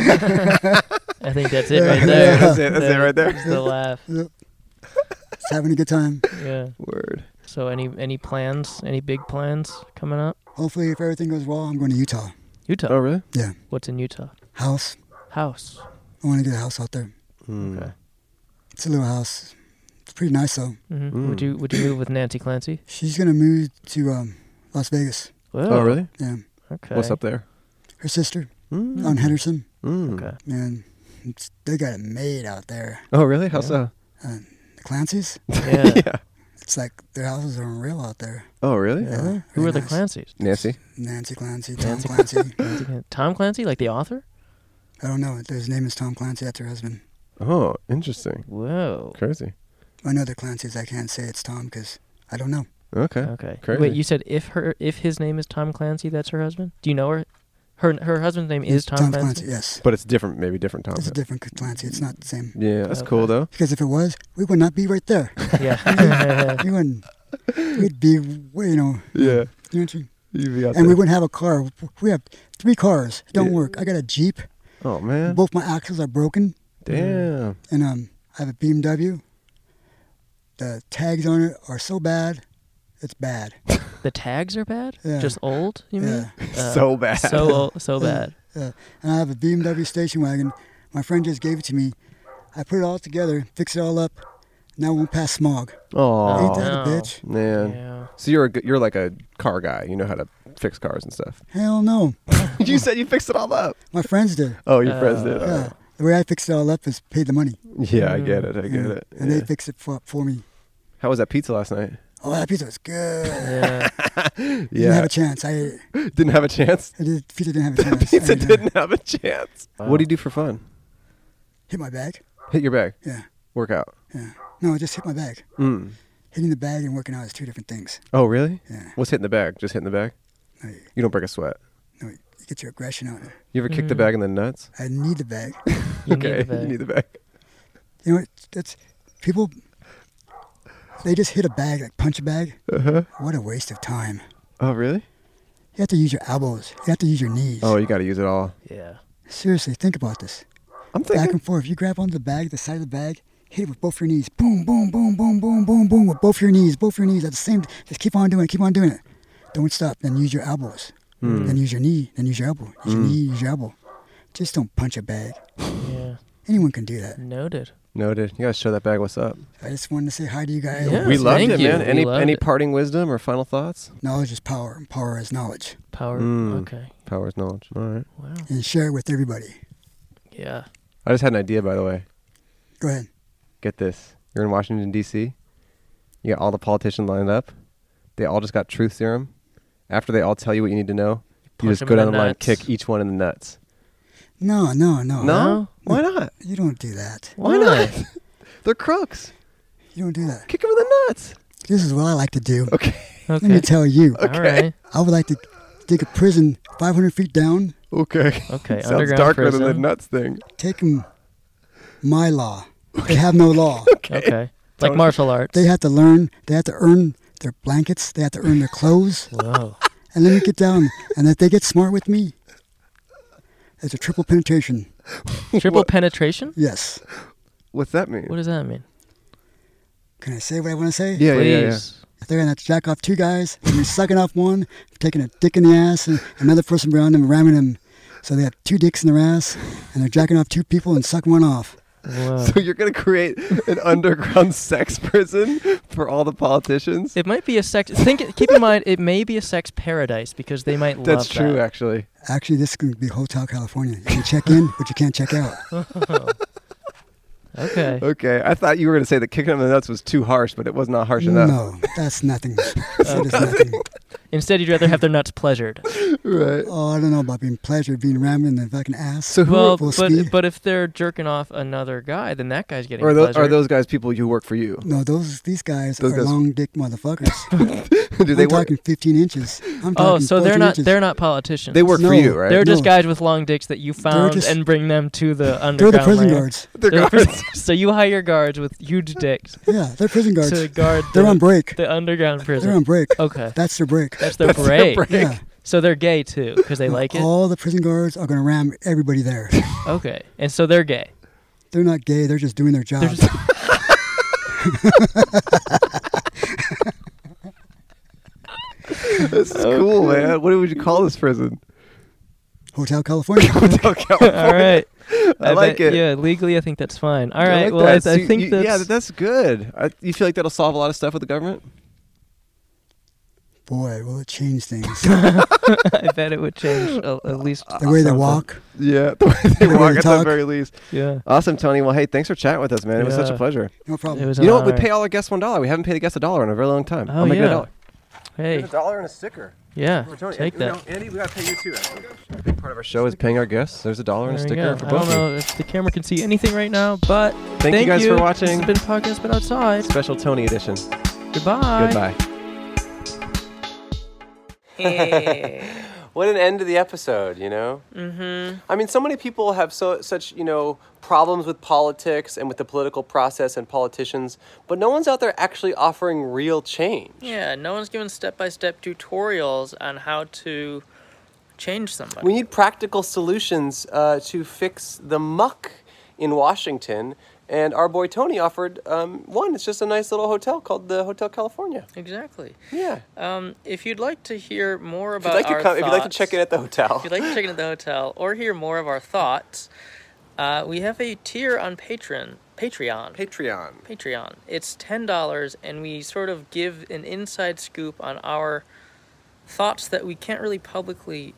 [SPEAKER 1] I think that's it right
[SPEAKER 5] Yeah,
[SPEAKER 1] there.
[SPEAKER 2] that's it, that's it right there.
[SPEAKER 1] That's the laugh.
[SPEAKER 5] Yep. Just having a good time.
[SPEAKER 1] Yeah.
[SPEAKER 2] Word.
[SPEAKER 1] So any any plans? Any big plans coming up?
[SPEAKER 5] Hopefully, if everything goes well, I'm going to Utah.
[SPEAKER 1] Utah.
[SPEAKER 2] Oh, really?
[SPEAKER 5] Yeah,
[SPEAKER 1] What's in Utah?
[SPEAKER 5] house.
[SPEAKER 1] House.
[SPEAKER 5] I want to get a house out there.
[SPEAKER 2] Hmm.
[SPEAKER 1] Okay.
[SPEAKER 5] It's a little house. It's pretty nice though.
[SPEAKER 1] hmm Would
[SPEAKER 2] Mm.
[SPEAKER 1] you Would you move with Nancy Clancy?
[SPEAKER 5] She's gonna move to um, Las Vegas.
[SPEAKER 2] Oh, really?
[SPEAKER 5] Yeah,
[SPEAKER 1] Okay.
[SPEAKER 2] What's up there?
[SPEAKER 5] her sister
[SPEAKER 2] Mm.
[SPEAKER 5] on Henderson,
[SPEAKER 2] Mm.
[SPEAKER 1] Okay.
[SPEAKER 5] and it's, they got it made out there.
[SPEAKER 2] Oh, really? How so?
[SPEAKER 5] The Clancy's,
[SPEAKER 1] Yeah.
[SPEAKER 5] it's like their houses are unreal out there.
[SPEAKER 2] Oh, really?
[SPEAKER 5] Yeah, really
[SPEAKER 1] Who are the
[SPEAKER 5] nice.
[SPEAKER 1] Clancy's?
[SPEAKER 2] Nancy.
[SPEAKER 5] Nancy Clancy, Tom
[SPEAKER 1] Nancy
[SPEAKER 5] Clancy.
[SPEAKER 1] Clancy Clan- Tom Clancy, like the author?
[SPEAKER 5] I don't know. His name is Tom Clancy. That's her husband.
[SPEAKER 2] Oh, interesting.
[SPEAKER 1] Whoa.
[SPEAKER 2] Crazy.
[SPEAKER 5] I know they're Clancy's. I can't say it's Tom because I don't know.
[SPEAKER 2] Okay.
[SPEAKER 1] Okay.
[SPEAKER 2] Crazy.
[SPEAKER 1] Wait, you said if her if his name is Tom Clancy, that's her husband? Do you know her? Her her husband's name is Tom,
[SPEAKER 5] Tom
[SPEAKER 1] Clancy.
[SPEAKER 5] Clancy. Yes,
[SPEAKER 2] But it's different, maybe different Tom.
[SPEAKER 5] it's a different Clancy. It's not the same.
[SPEAKER 2] Yeah, that's
[SPEAKER 1] Okay.
[SPEAKER 2] cool though.
[SPEAKER 5] Because if it was, we would not be right there.
[SPEAKER 1] Yeah.
[SPEAKER 5] We wouldn't. We'd be, way, you know,
[SPEAKER 2] Yeah.
[SPEAKER 5] you know what I'm
[SPEAKER 2] You'd be out
[SPEAKER 5] saying? and we
[SPEAKER 2] there.
[SPEAKER 5] wouldn't have a car. We have three cars. It Don't
[SPEAKER 2] Yeah.
[SPEAKER 5] work. I got a Jeep.
[SPEAKER 2] oh man.
[SPEAKER 5] Both my axles are broken,
[SPEAKER 2] Damn.
[SPEAKER 5] and um, I have a BMW. The tags on it are so bad, it's bad.
[SPEAKER 1] the tags are bad?
[SPEAKER 5] Yeah.
[SPEAKER 1] Just old, you mean? Uh,
[SPEAKER 2] so bad.
[SPEAKER 1] So old, so bad.
[SPEAKER 5] Yeah. And I have a BMW station wagon. My friend just gave it to me. I put it all together, fixed it all up. Now it won't pass smog. Ain't
[SPEAKER 2] oh
[SPEAKER 5] that a
[SPEAKER 1] no.
[SPEAKER 5] bitch?
[SPEAKER 2] man.
[SPEAKER 1] Yeah.
[SPEAKER 2] So you're a, g- you're like a car guy. You know how to fix cars and stuff.
[SPEAKER 5] Hell no.
[SPEAKER 2] you said you fixed it all up.
[SPEAKER 5] My friends do.
[SPEAKER 2] Oh, your
[SPEAKER 1] Uh,
[SPEAKER 2] friends did.
[SPEAKER 5] Yeah.
[SPEAKER 2] Oh.
[SPEAKER 5] The way I fixed it all up is paid the money.
[SPEAKER 2] Yeah, I get it. I get
[SPEAKER 5] Yeah.
[SPEAKER 2] it.
[SPEAKER 5] And
[SPEAKER 2] Yeah.
[SPEAKER 5] they fix it for, for me.
[SPEAKER 2] How was that pizza last night?
[SPEAKER 5] Oh, that pizza was good.
[SPEAKER 1] Yeah.
[SPEAKER 5] Didn't have
[SPEAKER 2] Yeah,
[SPEAKER 5] a chance. I, ate it.
[SPEAKER 2] didn't have a chance.
[SPEAKER 5] I did, pizza didn't have a chance. uh, I
[SPEAKER 2] Pizza
[SPEAKER 5] didn't have-
[SPEAKER 2] didn't have a chance.
[SPEAKER 1] Wow.
[SPEAKER 2] What do you do for fun?
[SPEAKER 5] Hit my bag.
[SPEAKER 2] Hit your bag.
[SPEAKER 5] Yeah.
[SPEAKER 2] Work out.
[SPEAKER 5] Yeah. No, I just hit my bag.
[SPEAKER 2] Mm.
[SPEAKER 5] Hitting the bag and working out is two different things.
[SPEAKER 2] Oh, really?
[SPEAKER 5] Yeah.
[SPEAKER 2] What's hitting the bag? Just hitting the bag.
[SPEAKER 5] No, you,
[SPEAKER 2] You don't break a sweat.
[SPEAKER 5] no, you get your aggression out.
[SPEAKER 2] You ever kick the
[SPEAKER 1] Mm.
[SPEAKER 2] bag in the nuts?
[SPEAKER 5] I need the bag.
[SPEAKER 1] You Need the
[SPEAKER 2] okay, you
[SPEAKER 1] bag.
[SPEAKER 2] need the bag.
[SPEAKER 5] You know, it's- it's people. They just hit a bag, like punch a bag.
[SPEAKER 2] Uh-huh.
[SPEAKER 5] What a waste of time.
[SPEAKER 2] Oh, really?
[SPEAKER 5] You have to use your elbows. You have to use your knees.
[SPEAKER 2] Oh, you got to use it all.
[SPEAKER 1] yeah.
[SPEAKER 5] Seriously, think about this.
[SPEAKER 2] I'm
[SPEAKER 5] Back
[SPEAKER 2] thinking.
[SPEAKER 5] and forth. You grab onto the bag, the side of the bag, hit it with both your knees. Boom, boom, boom, boom, boom, boom, boom, with both your knees, both your knees at the same. Just keep on doing it. Keep on doing it. Don't stop. Then use your elbows.
[SPEAKER 1] Hmm.
[SPEAKER 5] Then use your knee. Then use your elbow. Use your knee. Use your elbow. Just don't punch a bag.
[SPEAKER 1] Yeah.
[SPEAKER 5] Anyone can do that.
[SPEAKER 1] Noted.
[SPEAKER 2] Noted. You got to show that bag what's up.
[SPEAKER 5] I just wanted to say hi to you guys.
[SPEAKER 1] Yeah.
[SPEAKER 2] we loved
[SPEAKER 1] thank
[SPEAKER 2] it,
[SPEAKER 1] you.
[SPEAKER 2] man.
[SPEAKER 1] We
[SPEAKER 2] Any
[SPEAKER 1] loved
[SPEAKER 2] any
[SPEAKER 1] it.
[SPEAKER 2] parting wisdom or final thoughts?
[SPEAKER 5] Knowledge is power, and power is knowledge.
[SPEAKER 1] Power.
[SPEAKER 2] Mm.
[SPEAKER 1] Okay.
[SPEAKER 2] Power is knowledge. All right.
[SPEAKER 1] Wow.
[SPEAKER 5] And share it with everybody.
[SPEAKER 1] Yeah.
[SPEAKER 2] I just had an idea, by the way.
[SPEAKER 5] Go ahead.
[SPEAKER 2] Get this. You're in Washington D.C. You got all the politicians lined up. They all just got truth serum. After they all tell you what you need to know, you
[SPEAKER 1] Punch
[SPEAKER 2] just
[SPEAKER 1] 'em
[SPEAKER 2] go
[SPEAKER 1] in the
[SPEAKER 2] down the line, and
[SPEAKER 1] nuts. Oh,
[SPEAKER 2] kick each one in the nuts.
[SPEAKER 5] No, no, no.
[SPEAKER 2] No, why not?
[SPEAKER 5] You don't do that.
[SPEAKER 2] Why not? They're crooks.
[SPEAKER 5] You don't do that.
[SPEAKER 2] Kick them in the nuts.
[SPEAKER 5] This is what I like to do.
[SPEAKER 2] Okay.
[SPEAKER 1] Okay.
[SPEAKER 5] Let me tell you,
[SPEAKER 1] All right.
[SPEAKER 5] I would like to dig a prison 500 feet down,
[SPEAKER 2] Okay.
[SPEAKER 1] Okay.
[SPEAKER 2] Sounds
[SPEAKER 1] underground
[SPEAKER 2] darker
[SPEAKER 1] prison.
[SPEAKER 2] than the nuts thing.
[SPEAKER 5] take them my law. They have no law.
[SPEAKER 1] Okay. Like martial arts.
[SPEAKER 5] They have to learn, they have to earn their blankets, they have to earn their clothes.
[SPEAKER 1] Whoa.
[SPEAKER 5] And let me get down. And if they get smart with me, it's a triple penetration.
[SPEAKER 1] Triple penetration?
[SPEAKER 5] Yes.
[SPEAKER 2] What's that mean?
[SPEAKER 1] What does that mean?
[SPEAKER 5] Can I say what I want to say?
[SPEAKER 2] yeah, yeah, yeah, yeah.
[SPEAKER 1] Please.
[SPEAKER 5] They're gonna have to jack off two guys, and they're sucking off one, taking a dick in the ass, and another person around them ramming him. So they have two dicks in their ass, and they're jacking off two people and sucking one off.
[SPEAKER 1] Whoa.
[SPEAKER 2] So you're gonna create an underground sex prison for all the politicians?
[SPEAKER 1] It might be a sex. Think. Keep in mind, it may be a sex paradise because they might
[SPEAKER 2] That's
[SPEAKER 1] love
[SPEAKER 2] true, actually.
[SPEAKER 5] Actually, this could be Hotel California. You can check in, but you can't check out.
[SPEAKER 1] that. Okay.
[SPEAKER 2] Okay, I thought you were gonna say that kicking them in the nuts was too harsh, but it was not harsh enough.
[SPEAKER 5] No, that's nothing. That is nothing.
[SPEAKER 1] Instead, you'd rather have their nuts pleasured.
[SPEAKER 2] Right.
[SPEAKER 5] Oh, I don't know about being pleasured, being rammed in the fucking ass.
[SPEAKER 2] So who
[SPEAKER 1] Well,
[SPEAKER 5] Full
[SPEAKER 1] but
[SPEAKER 5] speed.
[SPEAKER 1] but if they're jerking off another guy, then that guy's getting
[SPEAKER 2] are those
[SPEAKER 1] pleasured.
[SPEAKER 2] are those guys people who work for you?
[SPEAKER 5] no, those these guys
[SPEAKER 2] Those
[SPEAKER 5] are
[SPEAKER 2] guys-
[SPEAKER 5] long dick motherfuckers.
[SPEAKER 2] Do they
[SPEAKER 5] I'm
[SPEAKER 2] work?
[SPEAKER 5] talking 15 inches. I'm
[SPEAKER 1] Oh,
[SPEAKER 5] talking
[SPEAKER 1] so they're
[SPEAKER 5] 14
[SPEAKER 1] not
[SPEAKER 5] inches.
[SPEAKER 1] they're not politicians.
[SPEAKER 2] They work for
[SPEAKER 5] No.
[SPEAKER 2] you, right?
[SPEAKER 1] They're just
[SPEAKER 5] No.
[SPEAKER 1] guys with long dicks that you found
[SPEAKER 5] just-
[SPEAKER 1] and bring them to the
[SPEAKER 5] They're
[SPEAKER 1] underground.
[SPEAKER 5] the prison
[SPEAKER 1] land.
[SPEAKER 5] guards.
[SPEAKER 2] They're
[SPEAKER 1] They're the
[SPEAKER 2] guards.
[SPEAKER 1] prison- so you hire guards with huge dicks
[SPEAKER 5] Yeah, they're prison guards.
[SPEAKER 1] to guard
[SPEAKER 5] they're
[SPEAKER 1] the,
[SPEAKER 5] on break.
[SPEAKER 1] the underground
[SPEAKER 5] They're
[SPEAKER 1] prison.
[SPEAKER 5] on break.
[SPEAKER 1] okay,
[SPEAKER 5] That's their break.
[SPEAKER 1] that's their break.
[SPEAKER 5] Yeah.
[SPEAKER 1] So they're gay too because they
[SPEAKER 5] No,
[SPEAKER 1] like it.
[SPEAKER 5] All the prison guards are going to ram everybody there.
[SPEAKER 1] Okay, and so they're gay.
[SPEAKER 5] They're not gay. They're just doing their job.
[SPEAKER 1] They're just
[SPEAKER 2] This is cool, man. What would you call this prison?
[SPEAKER 5] Hotel California.
[SPEAKER 2] Okay.
[SPEAKER 1] all right.
[SPEAKER 2] I like
[SPEAKER 1] bet-
[SPEAKER 2] it.
[SPEAKER 1] Yeah, legally, I think that's fine. All
[SPEAKER 2] I
[SPEAKER 1] right.
[SPEAKER 2] like
[SPEAKER 1] well,
[SPEAKER 2] that.
[SPEAKER 1] I,
[SPEAKER 2] So
[SPEAKER 1] I
[SPEAKER 2] you-
[SPEAKER 1] think
[SPEAKER 2] you-
[SPEAKER 1] that's
[SPEAKER 2] yeah, that's good. I, you feel like that'll solve a lot of stuff with the government?
[SPEAKER 5] boy, will it change things.
[SPEAKER 1] I bet it would change a- at least
[SPEAKER 5] the way they
[SPEAKER 1] something.
[SPEAKER 5] walk.
[SPEAKER 2] Yeah, the way they
[SPEAKER 5] The way
[SPEAKER 2] walk
[SPEAKER 5] they
[SPEAKER 2] at the
[SPEAKER 5] talk.
[SPEAKER 2] very least.
[SPEAKER 1] Yeah,
[SPEAKER 2] Awesome, Tony. Well, hey, thanks for chatting with us, man. It was such a
[SPEAKER 1] Yeah.
[SPEAKER 2] pleasure.
[SPEAKER 5] No
[SPEAKER 1] it
[SPEAKER 5] problem.
[SPEAKER 1] was.
[SPEAKER 2] You know
[SPEAKER 1] an
[SPEAKER 2] what? We
[SPEAKER 1] honor.
[SPEAKER 2] pay all our guests one dollar. We haven't paid a guest a dollar in a very long time.
[SPEAKER 1] Oh,
[SPEAKER 2] I'll make it a
[SPEAKER 1] yeah.
[SPEAKER 2] dollar.
[SPEAKER 1] Hey,
[SPEAKER 2] dollar and a sticker.
[SPEAKER 1] yeah, take that.
[SPEAKER 2] Andy, we gotta pay you too. Actually. A big part of our show is paying our guests. There's a dollar and a
[SPEAKER 1] There you
[SPEAKER 2] sticker
[SPEAKER 1] go.
[SPEAKER 2] for
[SPEAKER 1] I
[SPEAKER 2] both
[SPEAKER 1] don't
[SPEAKER 2] of you.
[SPEAKER 1] know if the camera can see anything right now, but
[SPEAKER 2] Thank, you guys for
[SPEAKER 1] This
[SPEAKER 2] watching.
[SPEAKER 1] has been podcast, but outside.
[SPEAKER 2] Special Tony edition.
[SPEAKER 1] Goodbye.
[SPEAKER 2] Goodbye. what an end to the episode, you know? Mm-hmm. I mean, so many people have so such, you know, problems with politics and with the political process and politicians, but no one's out there actually offering real change.
[SPEAKER 1] Yeah, no one's given step by step tutorials on how to change somebody.
[SPEAKER 2] We need practical solutions uh, to fix the muck in Washington. And our boy Tony offered um, one. It's just a nice little hotel called the Hotel California.
[SPEAKER 1] exactly.
[SPEAKER 2] Yeah.
[SPEAKER 1] Um, if you'd like to hear more
[SPEAKER 2] If you'd,
[SPEAKER 1] about
[SPEAKER 2] like to
[SPEAKER 1] our
[SPEAKER 2] come, if you'd like to
[SPEAKER 1] thoughts-
[SPEAKER 2] check in at the hotel.
[SPEAKER 1] if you'd like to check in at the hotel or hear more of our thoughts, uh, we have a tier on Patreon. Patreon.
[SPEAKER 2] Patreon.
[SPEAKER 1] Patreon. It's ten dollars, and we sort of give an inside scoop on our thoughts that we can't really publicly,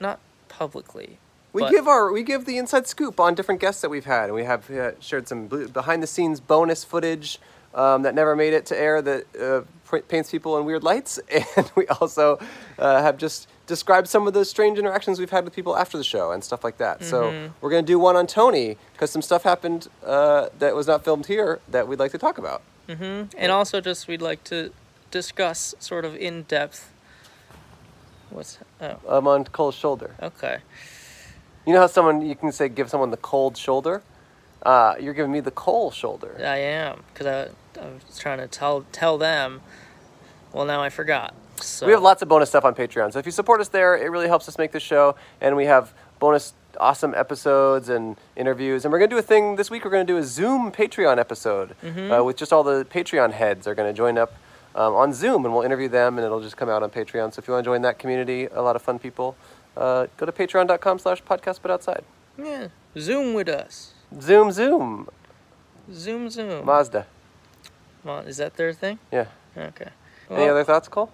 [SPEAKER 1] not publicly.
[SPEAKER 2] We
[SPEAKER 1] but-
[SPEAKER 2] give our we give the inside scoop on different guests that we've had, and we have uh, shared some behind the scenes bonus footage um, that never made it to air that uh, p- paints people in weird lights, and we also uh, have just described some of those strange interactions we've had with people after the show and stuff like that. So we're gonna do one on Tony because some stuff happened uh, that was not filmed here that we'd like to talk about.
[SPEAKER 1] and also just we'd like to discuss sort of in depth. What's oh
[SPEAKER 2] I'm um, on Cole's shoulder.
[SPEAKER 1] okay.
[SPEAKER 2] You know how someone you can say give someone the cold shoulder. Uh, you're giving me the Cole shoulder.
[SPEAKER 1] I am because I, I was trying to tell tell them. Well, now I forgot. So
[SPEAKER 2] We have lots of bonus stuff on Patreon. So if you support us there, it really helps us make this show. And we have bonus awesome episodes and interviews. And we're going to do a thing this week. We're going to do a Zoom Patreon episode
[SPEAKER 1] Mm-hmm.
[SPEAKER 2] uh, with just all the Patreon heads are going to join up um, on Zoom and we'll interview them and it'll just come out on Patreon. So if you want to join that community, a lot of fun people, uh, go to patreon.com slash podcast but outside.
[SPEAKER 1] yeah. Zoom with us.
[SPEAKER 2] Zoom, Zoom,
[SPEAKER 1] Zoom, zoom.
[SPEAKER 2] Mazda.
[SPEAKER 1] Well, is that their thing?
[SPEAKER 2] Yeah.
[SPEAKER 1] Okay.
[SPEAKER 2] Any
[SPEAKER 1] Well,
[SPEAKER 2] other thoughts, Cole?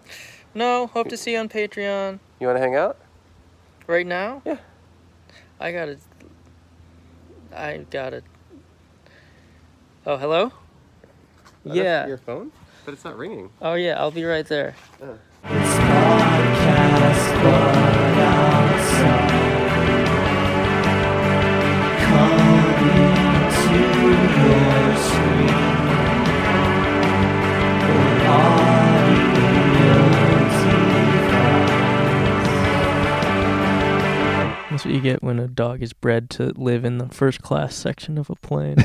[SPEAKER 1] No. Hope to see you on Patreon.
[SPEAKER 2] You want to hang out?
[SPEAKER 1] Right now?
[SPEAKER 2] Yeah.
[SPEAKER 1] I gotta. I gotta. Oh, hello? yeah.
[SPEAKER 2] Your phone? But it's not ringing.
[SPEAKER 1] Oh, yeah, I'll be right there.
[SPEAKER 3] It's podcast, but outside. Coming to your screen. We're
[SPEAKER 1] That's what you get when a dog is bred to live in the first class section of a plane.